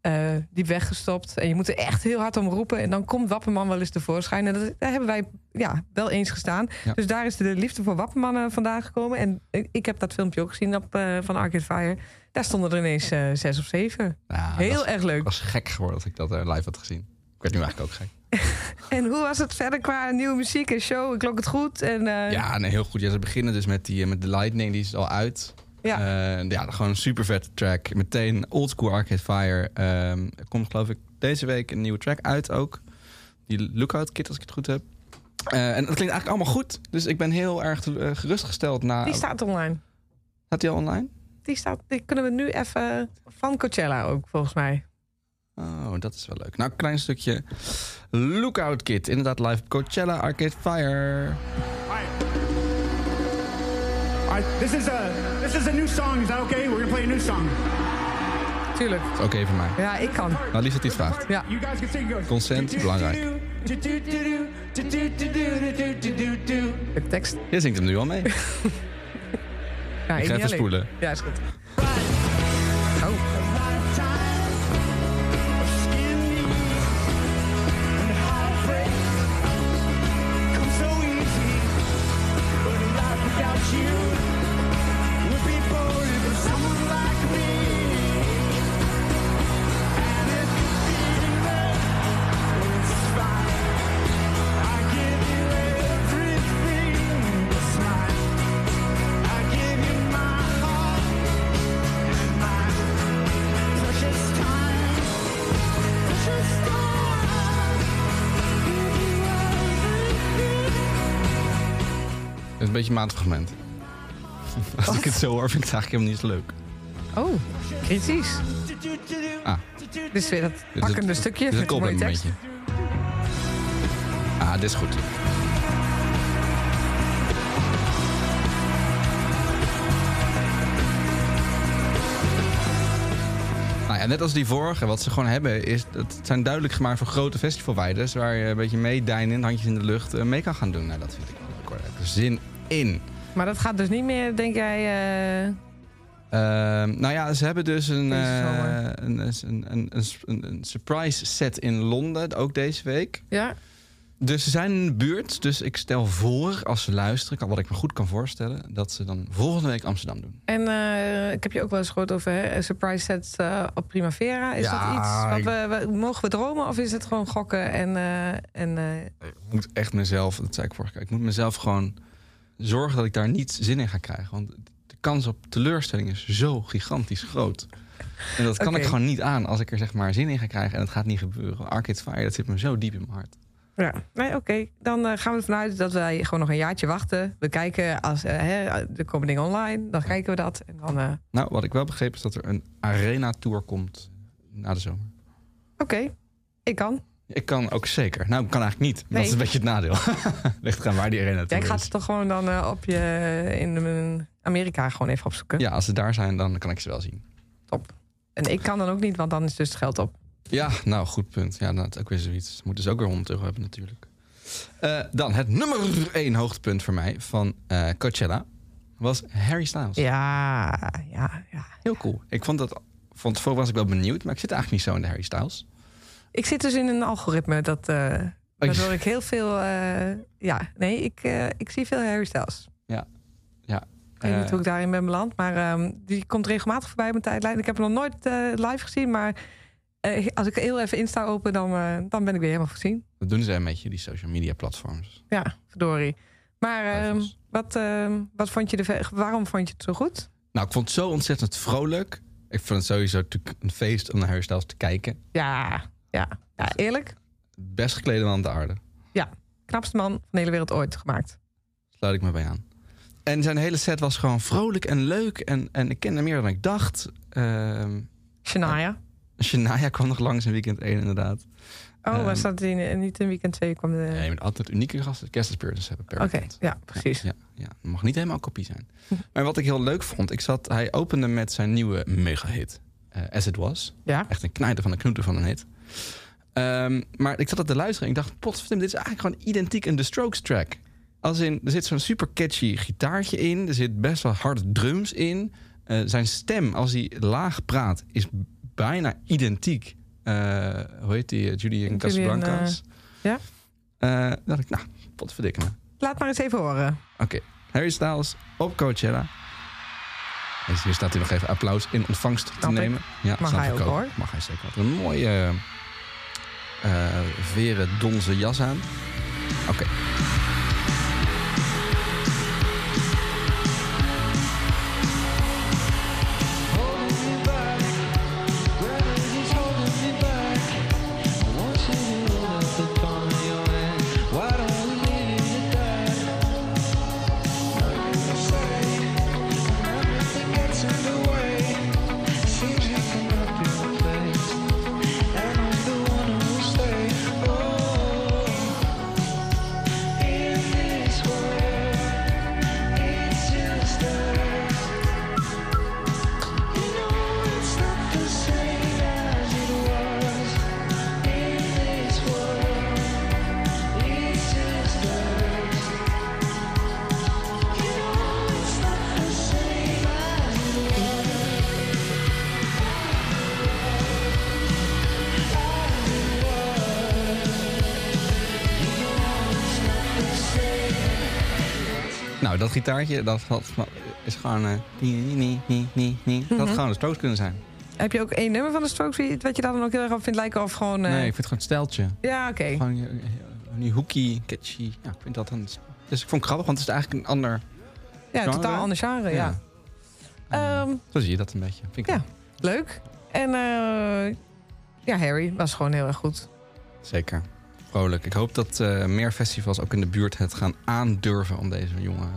Speaker 4: eh, diep weggestopt. En je moet er echt heel hard om roepen. En dan komt Wapperman wel eens tevoorschijn. En dat, daar hebben wij ja, wel eens gestaan.
Speaker 3: Ja.
Speaker 4: Dus daar is de liefde voor Wapperman eh, vandaan gekomen. En ik, ik heb dat filmpje ook gezien op, eh, van Arcade Fire. Daar stonden er ineens eh, zes of zeven.
Speaker 3: Ja,
Speaker 4: heel
Speaker 3: dat,
Speaker 4: erg leuk.
Speaker 3: was gek geworden dat ik dat eh, live had gezien. Ik werd nu eigenlijk ook gek.
Speaker 4: En hoe was het verder qua nieuwe muziek en show? Klonk het goed? En, eh,
Speaker 3: Ja, nee, heel goed. Ja, ze beginnen dus met, die, eh, met de Lightning, die is al uit.
Speaker 4: ja.
Speaker 3: Eh, ja, gewoon een super vette track. Meteen Old School Arcade Fire. Ehm, er komt geloof ik deze week een nieuwe track uit ook. Die Lookout Kit, als ik het goed heb. Eh, en dat klinkt eigenlijk allemaal goed. Dus ik ben heel erg eh, gerustgesteld na...
Speaker 4: Die staat online.
Speaker 3: Staat die al online?
Speaker 4: Die, staat, die kunnen we nu even van Coachella ook, volgens mij.
Speaker 3: Oh, dat is wel leuk. Nou, klein stukje Lookout Kit. Inderdaad, live op Coachella Arcade Fire.
Speaker 6: Alright. Alright, this is a this is a new song. Is that okay? We're gonna play a new song.
Speaker 4: Tuurlijk.
Speaker 3: Dat is oké voor mij.
Speaker 4: Ja, ik kan.
Speaker 3: Nou, liefst dat hij het vraagt.
Speaker 4: Ja.
Speaker 6: You guys can sing. It goes.
Speaker 3: Consent, belangrijk.
Speaker 4: De tekst.
Speaker 3: Je zingt hem nu al mee.
Speaker 4: Ja,
Speaker 3: Ik ga even spoelen.
Speaker 4: Ja, is goed.
Speaker 3: Het is een beetje een maandfragment. Als ik het zo hoor, vind ik het eigenlijk helemaal niet zo leuk.
Speaker 4: Oh, kritisch.
Speaker 3: Ah.
Speaker 4: Dit is weer dat
Speaker 3: Dit is
Speaker 4: pakkende
Speaker 3: het-
Speaker 4: stukje.
Speaker 3: Dit is het
Speaker 4: met mooie
Speaker 3: koolmomentje. Ah, dit is goed. Nou ja, net als die vorige, wat ze gewoon hebben, is dat het zijn duidelijk gemaakt voor grote festivalwijders. Waar je een beetje meedijnen, handjes in de lucht, eh, mee kan gaan doen. Nou, dat vind ik wel leuk hoor. Daar heb ik er zin in.
Speaker 4: Maar dat gaat dus niet meer, denk jij... eh,
Speaker 3: Ehm, nou ja, ze hebben dus een,
Speaker 4: Deze
Speaker 3: eh,
Speaker 4: zomer.
Speaker 3: een, een, een, een, een surprise set in Londen, ook deze week.
Speaker 4: Ja?
Speaker 3: Dus ze zijn in de buurt, dus ik stel voor, als ze luisteren, kan- wat ik me goed kan voorstellen, dat ze dan volgende week Amsterdam doen.
Speaker 4: En eh, ik heb je ook wel eens gehoord over hè, surprise sets eh, op Primavera. Is
Speaker 3: Ja,
Speaker 4: dat iets wat
Speaker 3: ik-
Speaker 4: we, we- Mogen we dromen of is het gewoon gokken en... eh, en eh,
Speaker 3: Ik moet echt mezelf, dat zei ik vorige keer, ik moet mezelf gewoon zorgen dat ik daar niet zin in ga krijgen. Want de kans op teleurstelling is zo gigantisch groot. En dat kan
Speaker 4: Oké.
Speaker 3: ik gewoon niet aan als ik er zeg maar zin in ga krijgen en het gaat niet gebeuren. Arcade Fire, dat zit me zo diep in mijn hart.
Speaker 4: Ja, nee, oké. Dan eh, gaan we ervan uit dat wij gewoon nog een jaartje wachten. We kijken als eh, hè, er komen dingen online, dan kijken we dat. En dan, eh,
Speaker 3: Nou, wat ik wel begreep is dat er een arena tour komt na de zomer.
Speaker 4: oké, ik kan.
Speaker 3: Ik kan ook zeker. Nou, ik kan eigenlijk niet. Dat
Speaker 4: Nee.
Speaker 3: is een beetje het nadeel. Ligt eraan waar die arena
Speaker 4: Ja,
Speaker 3: naartoe
Speaker 4: ik ga
Speaker 3: is.
Speaker 4: ze toch gewoon dan eh, op je in eh, Amerika gewoon even opzoeken.
Speaker 3: Ja, als ze daar zijn, dan kan ik ze wel zien.
Speaker 4: Top. En ik kan dan ook niet, want dan is dus het geld op.
Speaker 3: Ja, nou, goed punt. Ja, nou, dat is ook weer zoiets. Ze moeten dus ook weer 100 euro hebben natuurlijk. Eh, dan het nummer 1 hoogtepunt voor mij van eh, Coachella was Harry Styles.
Speaker 4: Dus Ja, ja, ja.
Speaker 3: Heel cool. Ik vond dat... Van tevoren was ik wel benieuwd, maar ik zit eigenlijk niet zo in de Harry Styles.
Speaker 4: Ik zit dus in een algoritme dat, eh, waardoor ik heel veel... eh, ja, nee, ik, eh, ik zie veel Harry Styles.
Speaker 3: Ja. ja.
Speaker 4: Ik weet
Speaker 3: Eh,
Speaker 4: niet hoe ik daarin ben beland, maar ehm, die komt regelmatig voorbij op mijn tijdlijn. Ik heb hem nog nooit eh, live gezien, maar eh, als ik heel even Insta open, dan, eh, dan ben ik weer helemaal gezien.
Speaker 3: Dat doen ze een beetje, die social media platforms.
Speaker 4: Ja, verdorie. Maar ehm,
Speaker 3: Duivels.
Speaker 4: wat, ehm, wat vond je de, ve- waarom vond je het zo goed?
Speaker 3: Nou, ik vond het zo ontzettend vrolijk. Ik vond het sowieso natuurlijk een feest om naar Harry Styles te kijken.
Speaker 4: Ja, ja. ja eerlijk.
Speaker 3: Best geklede man op de aarde.
Speaker 4: Ja, knapste man van de hele wereld ooit gemaakt.
Speaker 3: Sluit ik me bij aan. En zijn hele set was gewoon vrolijk en leuk. En, en ik kende meer dan ik dacht. Ehm
Speaker 4: Shania.
Speaker 3: Shania kwam nog langs in weekend 1 inderdaad.
Speaker 4: Oh,
Speaker 3: Ehm,
Speaker 4: was dat die, niet in weekend 2? Kwam de...
Speaker 3: Ja, je moet altijd unieke gasten. Kerstexperiences hebben per
Speaker 4: Oké,
Speaker 3: weekend.
Speaker 4: ja, precies.
Speaker 3: Ja, ja, het mag niet helemaal kopie zijn. Maar wat ik heel leuk vond, ik zat, hij opende met zijn nieuwe mega-hit. eh, As It Was.
Speaker 4: Ja.
Speaker 3: Echt een knijter van een knoeter van een hit. Ehm, maar ik zat dat te luisteren en ik dacht, potverdomme, dit is eigenlijk gewoon identiek een The Strokes track. Als in, er zit zo'n super catchy gitaartje in. Er zit best wel harde drums in. Eh, zijn stem, als hij laag praat, is bijna identiek. Eh, hoe heet die? eh, Julian
Speaker 4: Julian,
Speaker 3: Casablancas.
Speaker 4: ja.
Speaker 3: Eh, dan dacht ik, nou, potverdikke me.
Speaker 4: Laat maar eens even horen.
Speaker 3: Oké, Harry Styles op Coachella. En hier staat hij nog even applaus in ontvangst te
Speaker 4: Snap ik.
Speaker 3: nemen. Ja,
Speaker 4: Mag
Speaker 3: snap
Speaker 4: hij
Speaker 3: ik
Speaker 4: ook, hoor.
Speaker 3: Mag hij zeker. Had een mooie eh, eh, veren donzen jas aan. Oké. Nou, dat gitaartje, dat had- is gewoon... eh, nie, nie, nie, nie, nie. Dat
Speaker 4: Mhm.
Speaker 3: had gewoon de Strokes kunnen zijn.
Speaker 4: Heb je ook één nummer van de Strokes die- wat je daar dan ook heel erg op vindt lijken? Of gewoon... eh,
Speaker 3: Nee, ik vind het gewoon een steltje.
Speaker 4: Ja, oké.
Speaker 3: Gewoon eh, eh, die hooky, catchy. Ja, ik vind dat een... Dus ik vond het grappig, want het is eigenlijk een ander...
Speaker 4: Ja,
Speaker 3: genre.
Speaker 4: totaal ander genre, Oh, ja. Ehm,
Speaker 3: Zo zie je dat een beetje. Vind ik
Speaker 4: Ja.
Speaker 3: leuk.
Speaker 4: leuk. En eh, ja, Harry was gewoon heel erg goed.
Speaker 3: Zeker. Vrolijk. Ik hoop dat eh, meer festivals ook in de buurt het gaan aandurven om deze jongen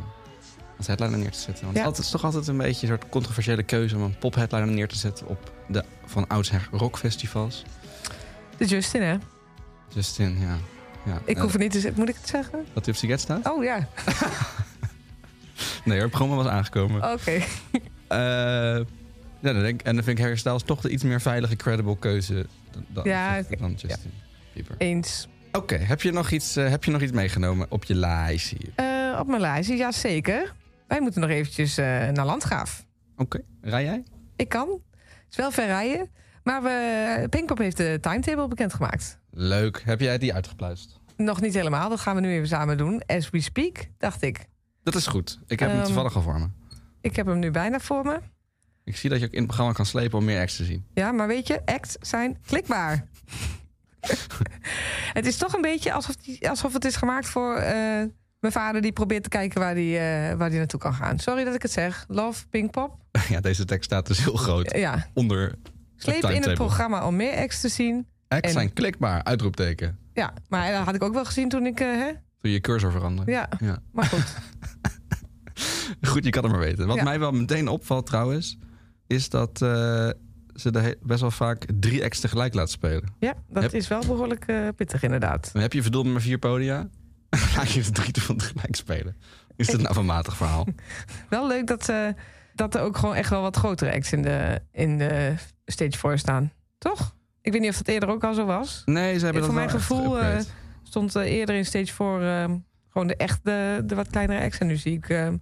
Speaker 3: als headliner neer te zetten. Want
Speaker 4: Ja.
Speaker 3: het is toch altijd een beetje een soort controversiële keuze om een pop-headliner neer te zetten op de van oudsher rockfestivals.
Speaker 4: De Justin, hè?
Speaker 3: Justin, ja. ja.
Speaker 4: Ik
Speaker 3: Eh,
Speaker 4: hoef het niet te zeggen. Moet ik het zeggen?
Speaker 3: Dat Tipsy Get staat?
Speaker 4: Oh ja,
Speaker 3: Nee, hoor, het programma was aangekomen.
Speaker 4: oké.
Speaker 3: Eh, ja, dan denk, en dan vind ik Harry Styles toch de iets meer veilige, credible keuze dan, dan,
Speaker 4: Ja, oké.
Speaker 3: dan Justin Bieber.
Speaker 4: Eens.
Speaker 3: Oké, heb, je nog iets, eh, heb je nog iets meegenomen op je lijst hier?
Speaker 4: Eh, op mijn lijstje, ja zeker. Wij moeten nog eventjes eh, naar Landgraaf.
Speaker 3: Oké, rij jij?
Speaker 4: Ik kan. Het is wel ver rijden. Maar we, Pinkpop heeft de timetable bekendgemaakt.
Speaker 3: Leuk. Heb jij die uitgepluist?
Speaker 4: Nog niet helemaal, dat gaan we nu even samen doen. As we speak, dacht ik.
Speaker 3: Dat is goed. Ik heb hem
Speaker 4: Ehm.
Speaker 3: toevallig al voor me.
Speaker 4: Ik heb hem nu bijna voor me.
Speaker 3: Ik zie dat je ook in het programma kan slepen om meer acts te zien.
Speaker 4: Ja, maar weet je, acts zijn klikbaar. het is toch een beetje alsof, die, alsof het is gemaakt voor eh, mijn vader... die probeert te kijken waar die, eh, waar die naartoe kan gaan. Sorry dat ik het zeg. Love, Pinkpop. Eh,
Speaker 3: ja, deze tekst staat dus heel groot
Speaker 4: Ja,
Speaker 3: onder de
Speaker 4: sleep in het
Speaker 3: timetable.
Speaker 4: programma om meer acts te zien.
Speaker 3: Acts
Speaker 4: en-
Speaker 3: zijn klikbaar, uitroepteken.
Speaker 4: Ja, maar dat had ik ook wel gezien toen ik... eh, hè?
Speaker 3: Doe je cursor veranderen.
Speaker 4: Ja, maar goed.
Speaker 3: Goed, je kan het maar weten. Wat
Speaker 4: Ja.
Speaker 3: mij wel meteen opvalt trouwens, is dat eh, ze de he- best wel vaak drie acts tegelijk laat spelen.
Speaker 4: Ja, dat
Speaker 3: Heb-
Speaker 4: is wel behoorlijk eh, pittig inderdaad.
Speaker 3: Dan heb je verdomme maar vier podia. laat je de drie ervan tegelijk spelen. Is dat nou van matig verhaal?
Speaker 4: Wel leuk dat, eh, dat er ook gewoon echt wel wat grotere acts in de, in de stage 4 staan. Toch? Ik weet niet of dat eerder ook al zo was.
Speaker 3: Nee, ze hebben
Speaker 4: Voor
Speaker 3: dat
Speaker 4: mijn
Speaker 3: wel echt
Speaker 4: gevoel,
Speaker 3: geüpgrade.
Speaker 4: eh, Stond eh, eerder in stage 4 ehm, gewoon de echt de, de wat kleinere acts. En nu zie ik ehm,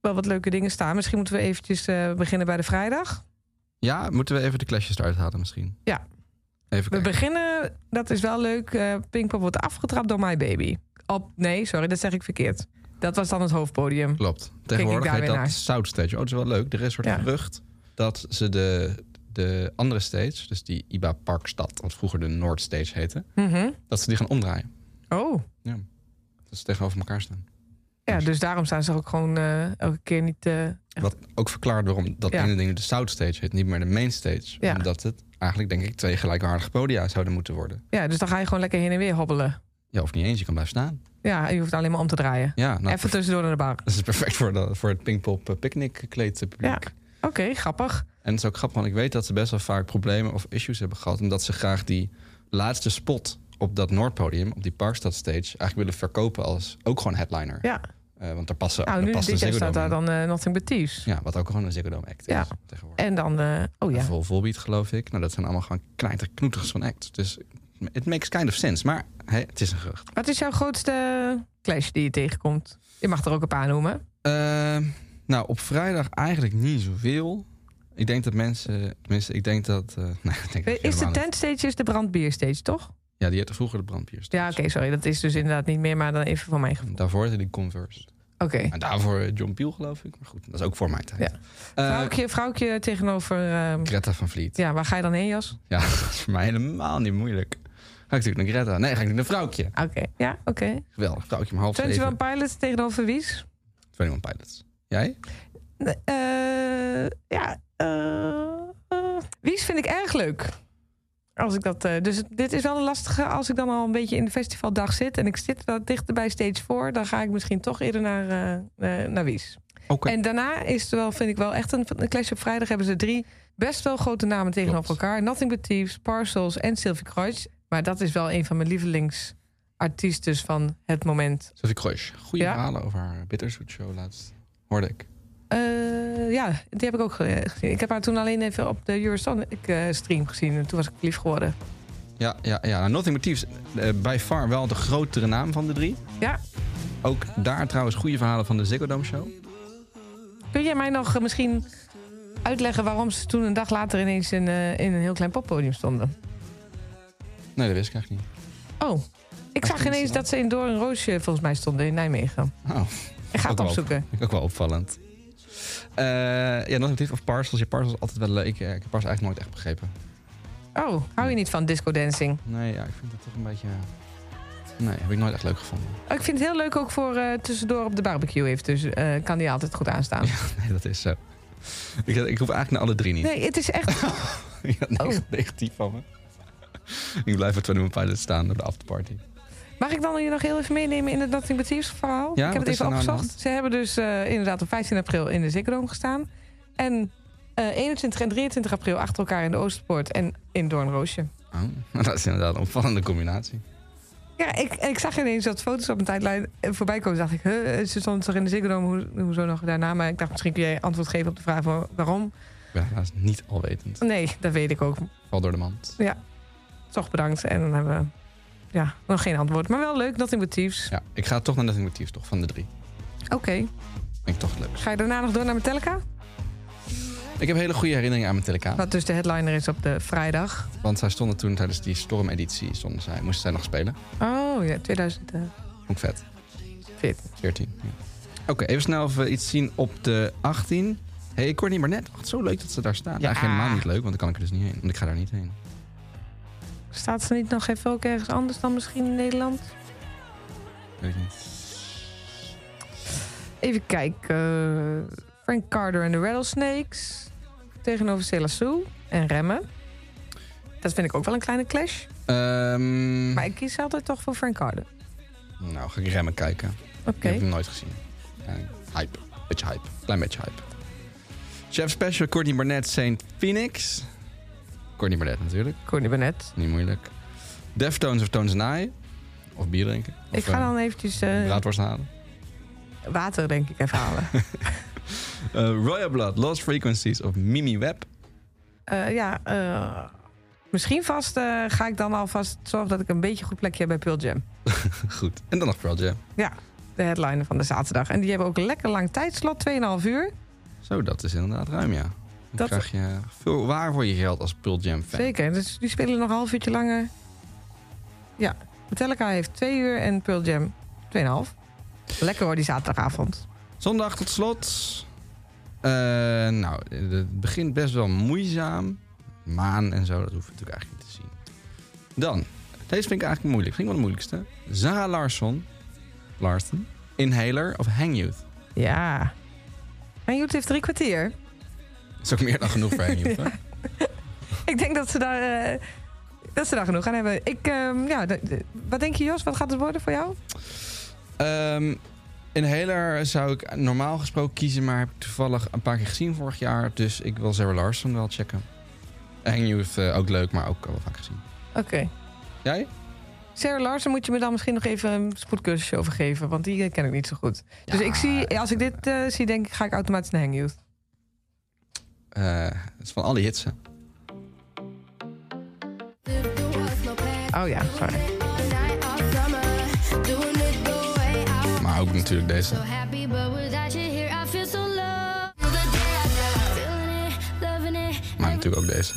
Speaker 4: wel wat leuke dingen staan. Misschien moeten we eventjes eh, beginnen bij de vrijdag.
Speaker 3: Ja, moeten we even de clashes eruit halen misschien?
Speaker 4: Ja.
Speaker 3: Even
Speaker 4: We
Speaker 3: kijken.
Speaker 4: beginnen, dat is wel leuk. eh Pinkpop wordt afgetrapt door My Baby. Op, nee, sorry, dat zeg ik verkeerd. Dat was dan het hoofdpodium.
Speaker 3: Klopt.
Speaker 4: ik
Speaker 3: Tegenwoordig
Speaker 4: daar
Speaker 3: heet
Speaker 4: weer
Speaker 3: dat
Speaker 4: naar.
Speaker 3: Southstage. Oh, dat is wel leuk. Er is wordt
Speaker 4: Ja.
Speaker 3: gerucht dat ze de, de andere stage, dus die IBA Parkstad, wat vroeger de Noordstage heette,
Speaker 4: Mhm.
Speaker 3: dat ze die gaan omdraaien.
Speaker 4: Oh,
Speaker 3: Dat ze tegenover elkaar staan.
Speaker 4: ja, dus daarom staan ze ook gewoon eh, elke keer niet... eh,
Speaker 3: Wat ook verklaart waarom dat
Speaker 4: Ja.
Speaker 3: ene ding de Southstage heet, niet meer de Mainstage.
Speaker 4: Ja.
Speaker 3: Omdat het eigenlijk, denk ik, twee gelijkwaardige podia zouden moeten worden.
Speaker 4: ja, dus dan ga je gewoon lekker heen en weer hobbelen.
Speaker 3: Ja, of niet eens, je kan blijven staan.
Speaker 4: Ja, je hoeft alleen maar om te draaien.
Speaker 3: Ja, nou,
Speaker 4: Even tussendoor naar de bar.
Speaker 3: dat is perfect voor, de, voor het Pinkpop eh, Picnic kleed publiek.
Speaker 4: Ja. Oké, grappig.
Speaker 3: En het is ook grappig, want ik weet dat ze best wel vaak problemen of issues hebben gehad. Omdat ze graag die laatste spot op dat Noordpodium, op die Parkstad stage, eigenlijk willen verkopen als ook gewoon headliner.
Speaker 4: Ja.
Speaker 3: Eh, want daar passen,
Speaker 4: Nou,
Speaker 3: daar
Speaker 4: nu
Speaker 3: past dus
Speaker 4: dit
Speaker 3: een
Speaker 4: jaar
Speaker 3: Ziggo
Speaker 4: staat
Speaker 3: Dome
Speaker 4: daar
Speaker 3: in.
Speaker 4: dan eh, Nothing But Thieves.
Speaker 3: Ja, wat ook gewoon een Ziggo Dome act
Speaker 4: Ja.
Speaker 3: is tegenwoordig.
Speaker 4: En dan, eh, oh ja.
Speaker 3: Vol volbeat geloof ik. Nou, dat zijn allemaal gewoon knijterknoeters van acts. Dus it makes kind of sense. Maar hè, het is een gerucht.
Speaker 4: Wat is jouw grootste clash die je tegenkomt? Je mag er ook een paar noemen.
Speaker 3: Ehm, nou, op vrijdag eigenlijk niet zoveel. Ik denk dat mensen... Tenminste, ik denk dat... eh, nee, ik denk dat
Speaker 4: Is de
Speaker 3: helemaal niet.
Speaker 4: tent stages de brandbierstage, toch?
Speaker 3: Ja, die had vroeger de brandpiers.
Speaker 4: Ja, oké, sorry. Dat is dus inderdaad niet meer, maar dan even van mij. Oké.
Speaker 3: Daarvoor had hij die Converse. En daarvoor eh, John Peel, geloof ik. Maar goed, dat is ook voor mijn tijd.
Speaker 4: Ja.
Speaker 3: Eh,
Speaker 4: Vrouwtje, vrouwtje tegenover... ehm,
Speaker 3: Greta van Vliet. Ja.
Speaker 4: ja, waar ga je dan heen, Jas?
Speaker 3: dat is voor mij helemaal niet moeilijk. Ga ik natuurlijk naar Greta. Nee, ga ik naar Vrouwtje.
Speaker 4: Oké, ja, oké.
Speaker 3: Geweldig, Vrouwtje om half
Speaker 4: Twenty
Speaker 3: zeven.
Speaker 4: One Pilots tegenover Wies?
Speaker 3: 21 Pilots. Jij?
Speaker 4: Nee, eh, ja, eh, eh, Wies vind ik erg leuk. Als ik dat, eh, dus het- dit is wel een lastige. Als ik dan al een beetje in de festivaldag zit en ik zit wat dichter bij stage 4, dan ga ik misschien toch eerder naar, eh, eh, naar Wies.
Speaker 3: Oké.
Speaker 4: En daarna is het wel, vind ik wel echt een, een clash. Op vrijdag hebben ze drie best wel grote namen tegenover
Speaker 3: Klopt.
Speaker 4: elkaar: Nothing But Thieves, Parcels en Sylvie Kreutz. Maar dat is wel een van mijn lievelingsartiesten van het moment.
Speaker 3: Sophie Kruis. Goede
Speaker 4: Ja.
Speaker 3: verhalen over haar bitterzoet show laatst. Hoorde ik.
Speaker 4: Eh, ja, die heb ik ook ge- gezien. Ik heb haar toen alleen even op de Eurosonic eh, stream gezien. En toen was ik lief geworden.
Speaker 3: Ja, ja, ja. Nou, Nothing But Thieves, eh, by far wel de grotere naam van de drie.
Speaker 4: Ja,
Speaker 3: Ook daar trouwens goede verhalen van de Ziggo Dome show.
Speaker 4: kun jij mij nog eh, misschien uitleggen waarom ze toen een dag later ineens in, eh, in een heel klein poppodium stonden?
Speaker 3: Nee, dat wist ik eigenlijk niet.
Speaker 4: Oh, ik zag
Speaker 3: Misschien
Speaker 4: ineens
Speaker 3: is dat-
Speaker 4: dat ze in Door een Roosje volgens mij stonden in Nijmegen.
Speaker 3: Oh.
Speaker 4: Ik ga
Speaker 3: Ook
Speaker 4: het
Speaker 3: wel.
Speaker 4: opzoeken.
Speaker 3: Vind ik ook wel opvallend. Eh, ja, Nothing But Thieves of Parcels. Je Parcels is altijd wel leuk. Ik, eh, ik heb Parcels eigenlijk nooit echt begrepen.
Speaker 4: Oh, hou je niet van disco dancing?
Speaker 3: Nee, ja, ik vind dat toch een beetje. Nee, heb ik nooit echt leuk gevonden.
Speaker 4: Oh, ik vind het heel leuk ook voor eh, tussendoor op de barbecue heeft. Dus eh, kan die altijd goed
Speaker 3: Oh.
Speaker 4: aanstaan.
Speaker 3: Nee, dat is zo. Ik, ik hoef eigenlijk naar alle drie niet.
Speaker 4: Nee, het is echt...
Speaker 3: Ja, neg- negatief van me. ik blijf bij 21 Pilots staan op de afterparty.
Speaker 4: Mag ik dan je nog heel even meenemen in het Nothing But Thieves verhaal?
Speaker 3: Ja,
Speaker 4: ik heb
Speaker 3: wat
Speaker 4: het
Speaker 3: is er
Speaker 4: even
Speaker 3: nou aan de
Speaker 4: opgezocht. Ze hebben dus eh, inderdaad op 15 april in de Ziggo Dome gestaan. En eh, 21 en 23 april achter elkaar in de Oosterpoort en in Doornroosje.
Speaker 3: Oh, dat is inderdaad een opvallende combinatie.
Speaker 4: Ja, ik, ik zag ineens dat foto's op mijn tijdlijn eh, voorbij komen. Dacht ik, huh, eh, ze stond toch in de Ziggo Dome, hoe, hoezo nog daarna? Maar ik dacht, misschien kun jij antwoord geven op de vraag wa- waarom.
Speaker 3: Ik ben helaas niet alwetend.
Speaker 4: Nee, dat weet ik ook.
Speaker 3: Val door de mand.
Speaker 4: Toch bedankt. En dan hebben we ja, nog geen antwoord. Maar wel leuk, Nothing But Thieves.
Speaker 3: Ja, ik ga toch naar Nothing But Thieves, toch? Van de drie.
Speaker 4: Oké,
Speaker 3: Vind ik toch het leukst.
Speaker 4: ga je daarna nog door naar Metallica?
Speaker 3: Ik heb hele goede herinneringen aan Metallica.
Speaker 4: Wat dus de headliner is op de vrijdag.
Speaker 3: Want zij stonden toen tijdens die stormeditie, stonden zij, moesten zij nog spelen.
Speaker 4: Oh ja, 2014.
Speaker 3: Vond ik vet. 14. ja. Oké, even snel of we iets zien op de 18. Hé, hey, Courtney Barnett. Wacht, zo leuk dat ze daar staan. Ja. Eigenlijk helemaal niet leuk, want dan kan ik er dus niet heen. Want ik ga daar niet heen.
Speaker 4: Staat ze niet nog even ook ergens anders dan misschien in Nederland?
Speaker 3: Weet ik niet.
Speaker 4: Even kijken. eh, Frank Carter en de Rattlesnakes. Tegenover Sela Sue en Remmen. Dat vind ik ook wel een kleine clash.
Speaker 3: Hm. Ehm,
Speaker 4: Maar ik kies altijd toch voor Frank Carter.
Speaker 3: Nou, ga ik remmen kijken.
Speaker 4: Oké.
Speaker 3: Ik heb hem nooit gezien. En hype. Beetje hype. Klein beetje hype. Chef Special, Courtney Barnett, St. Phoenix. Corny Bardet natuurlijk.
Speaker 4: Corny Burnett.
Speaker 3: Niet moeilijk. Deftones of Tones en I. Of bier drinken.
Speaker 4: Ik
Speaker 3: Of,
Speaker 4: ga
Speaker 3: eh,
Speaker 4: dan eventjes eh,
Speaker 3: Braadworst halen.
Speaker 4: water, denk ik, even halen.
Speaker 3: Eh, Royal Blood, Lost Frequencies of Mimi Web.
Speaker 4: Eh, ja, eh, misschien vast eh, ga ik dan alvast zorgen dat ik een beetje goed plekje heb bij Pearl Jam.
Speaker 3: Goed. En dan nog Pearl Jam.
Speaker 4: Ja, de headliner van de zaterdag. En die hebben ook een lekker lang tijdslot, 2,5 uur.
Speaker 3: Zo, dat is inderdaad ruim, ja. Dan
Speaker 4: Dat-
Speaker 3: krijg je veel waar voor je geld als Pearl Jam fan.
Speaker 4: Zeker, dus die spelen nog een half uurtje langer. Ja, Metallica heeft 2 uur en Pearl Jam 2,5. Lekker hoor, die zaterdagavond.
Speaker 3: Zondag tot slot. Eh, nou, het begint best wel moeizaam. Maan en zo, dat hoef je natuurlijk eigenlijk niet te zien. Dan, deze vind ik eigenlijk moeilijk. Vind ik wel de moeilijkste. Zara Larsson. Larsen. Inhaler of Hang Youth.
Speaker 4: Ja. En Joet heeft drie kwartier.
Speaker 3: Dat is ook meer dan genoeg voor Hang Youth, hè?
Speaker 4: Ik denk dat ze daar, eh, dat ze daar genoeg aan hebben. Ik, ehm, ja, de- de- wat denk je, Jos? Wat gaat het worden voor jou?
Speaker 3: Ehm, Inhaler zou ik normaal gesproken kiezen, maar heb ik toevallig een paar keer gezien vorig jaar. Dus ik wil Zara Larsson wel checken. Hang Youth eh, ook leuk, maar ook wel vaak gezien.
Speaker 4: Oké.
Speaker 3: Jij?
Speaker 4: Sarah Larsen moet je me dan misschien nog even een spoedcursusje over geven, want die eh, ken ik niet zo goed. dus
Speaker 3: Ja,
Speaker 4: ik zie, als ik dit eh, zie, denk ik, ga ik automatisch naar Hang Youth.
Speaker 3: Eh, het is van al die hits, hè?
Speaker 4: Oh ja, sorry.
Speaker 3: Maar ook natuurlijk deze. Maar natuurlijk ook deze.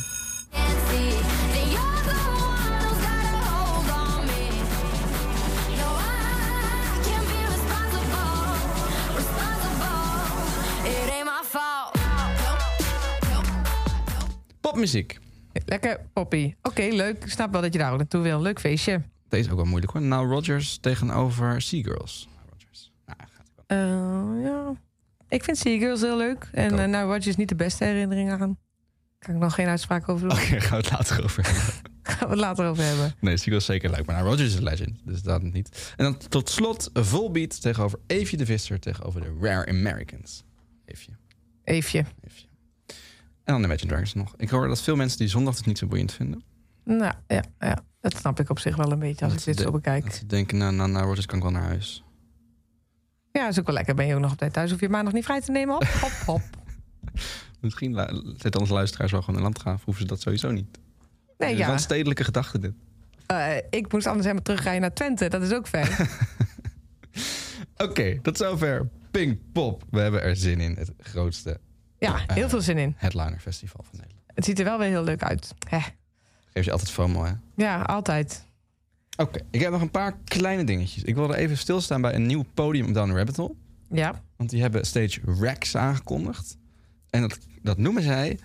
Speaker 3: Popmuziek.
Speaker 4: Lekker, Poppy. Oké, leuk. Ik snap wel dat je daar ook naartoe wil. Leuk feestje.
Speaker 3: Deze is ook wel moeilijk hoor. Nou, Rogers tegenover Seagirls. Rodgers. Nou, gaat ook wel.
Speaker 4: Eh, ja. Ik vind Seagirls heel leuk.
Speaker 3: Ik
Speaker 4: En
Speaker 3: ook.
Speaker 4: eh, nou, Roger is niet de beste herinnering aan. Kan ik nog geen uitspraak over doen.
Speaker 3: Oké, gaan we het later over hebben.
Speaker 4: Gaan we het later over hebben.
Speaker 3: Nee, Seagirls is zeker leuk, maar nou, Rogers is een legend. Dus dat niet. En dan tot slot Volbeat tegenover Evie de Visser tegenover de Rare Americans. Eefje,
Speaker 4: Eefje.
Speaker 3: Eefje. En dan Imagine Dragons nog. Ik hoor dat veel mensen die zondag het niet zo boeiend vinden.
Speaker 4: Nou, ja, ja. Dat snap ik op zich wel een beetje als
Speaker 3: Dat
Speaker 4: ik dit
Speaker 3: de-
Speaker 4: zo
Speaker 3: Dat
Speaker 4: bekijk.
Speaker 3: ze denken, nou, nou, nou, Rogers kan ik wel naar huis.
Speaker 4: Ja, is ook wel lekker. Ben je ook nog op tijd thuis? Hoef je maandag niet vrij te nemen? Hop, hop, hop.
Speaker 3: Misschien lu- zet onze luisteraars wel gewoon een landgraaf. Hoeven ze dat sowieso niet.
Speaker 4: Nee,
Speaker 3: Het is
Speaker 4: ja.
Speaker 3: wel een stedelijke gedachte dit.
Speaker 4: Eh, ik moest anders helemaal terugrijden naar Twente. Dat is ook ver.
Speaker 3: Oké, tot zover Pinkpop. We hebben er zin in. Het grootste
Speaker 4: Ja, heel veel zin in.
Speaker 3: headliner festival van Nederland.
Speaker 4: Het ziet er wel weer heel leuk uit. Hè.
Speaker 3: Geef je altijd FOMO, hè? Oké,
Speaker 4: Ja, altijd.
Speaker 3: ik heb nog een paar kleine dingetjes. Ik wilde even stilstaan bij een nieuw podium op Down the Rabbit Hole.
Speaker 4: Ja.
Speaker 3: Want die hebben stage Rex aangekondigd. En dat, dat noemen zij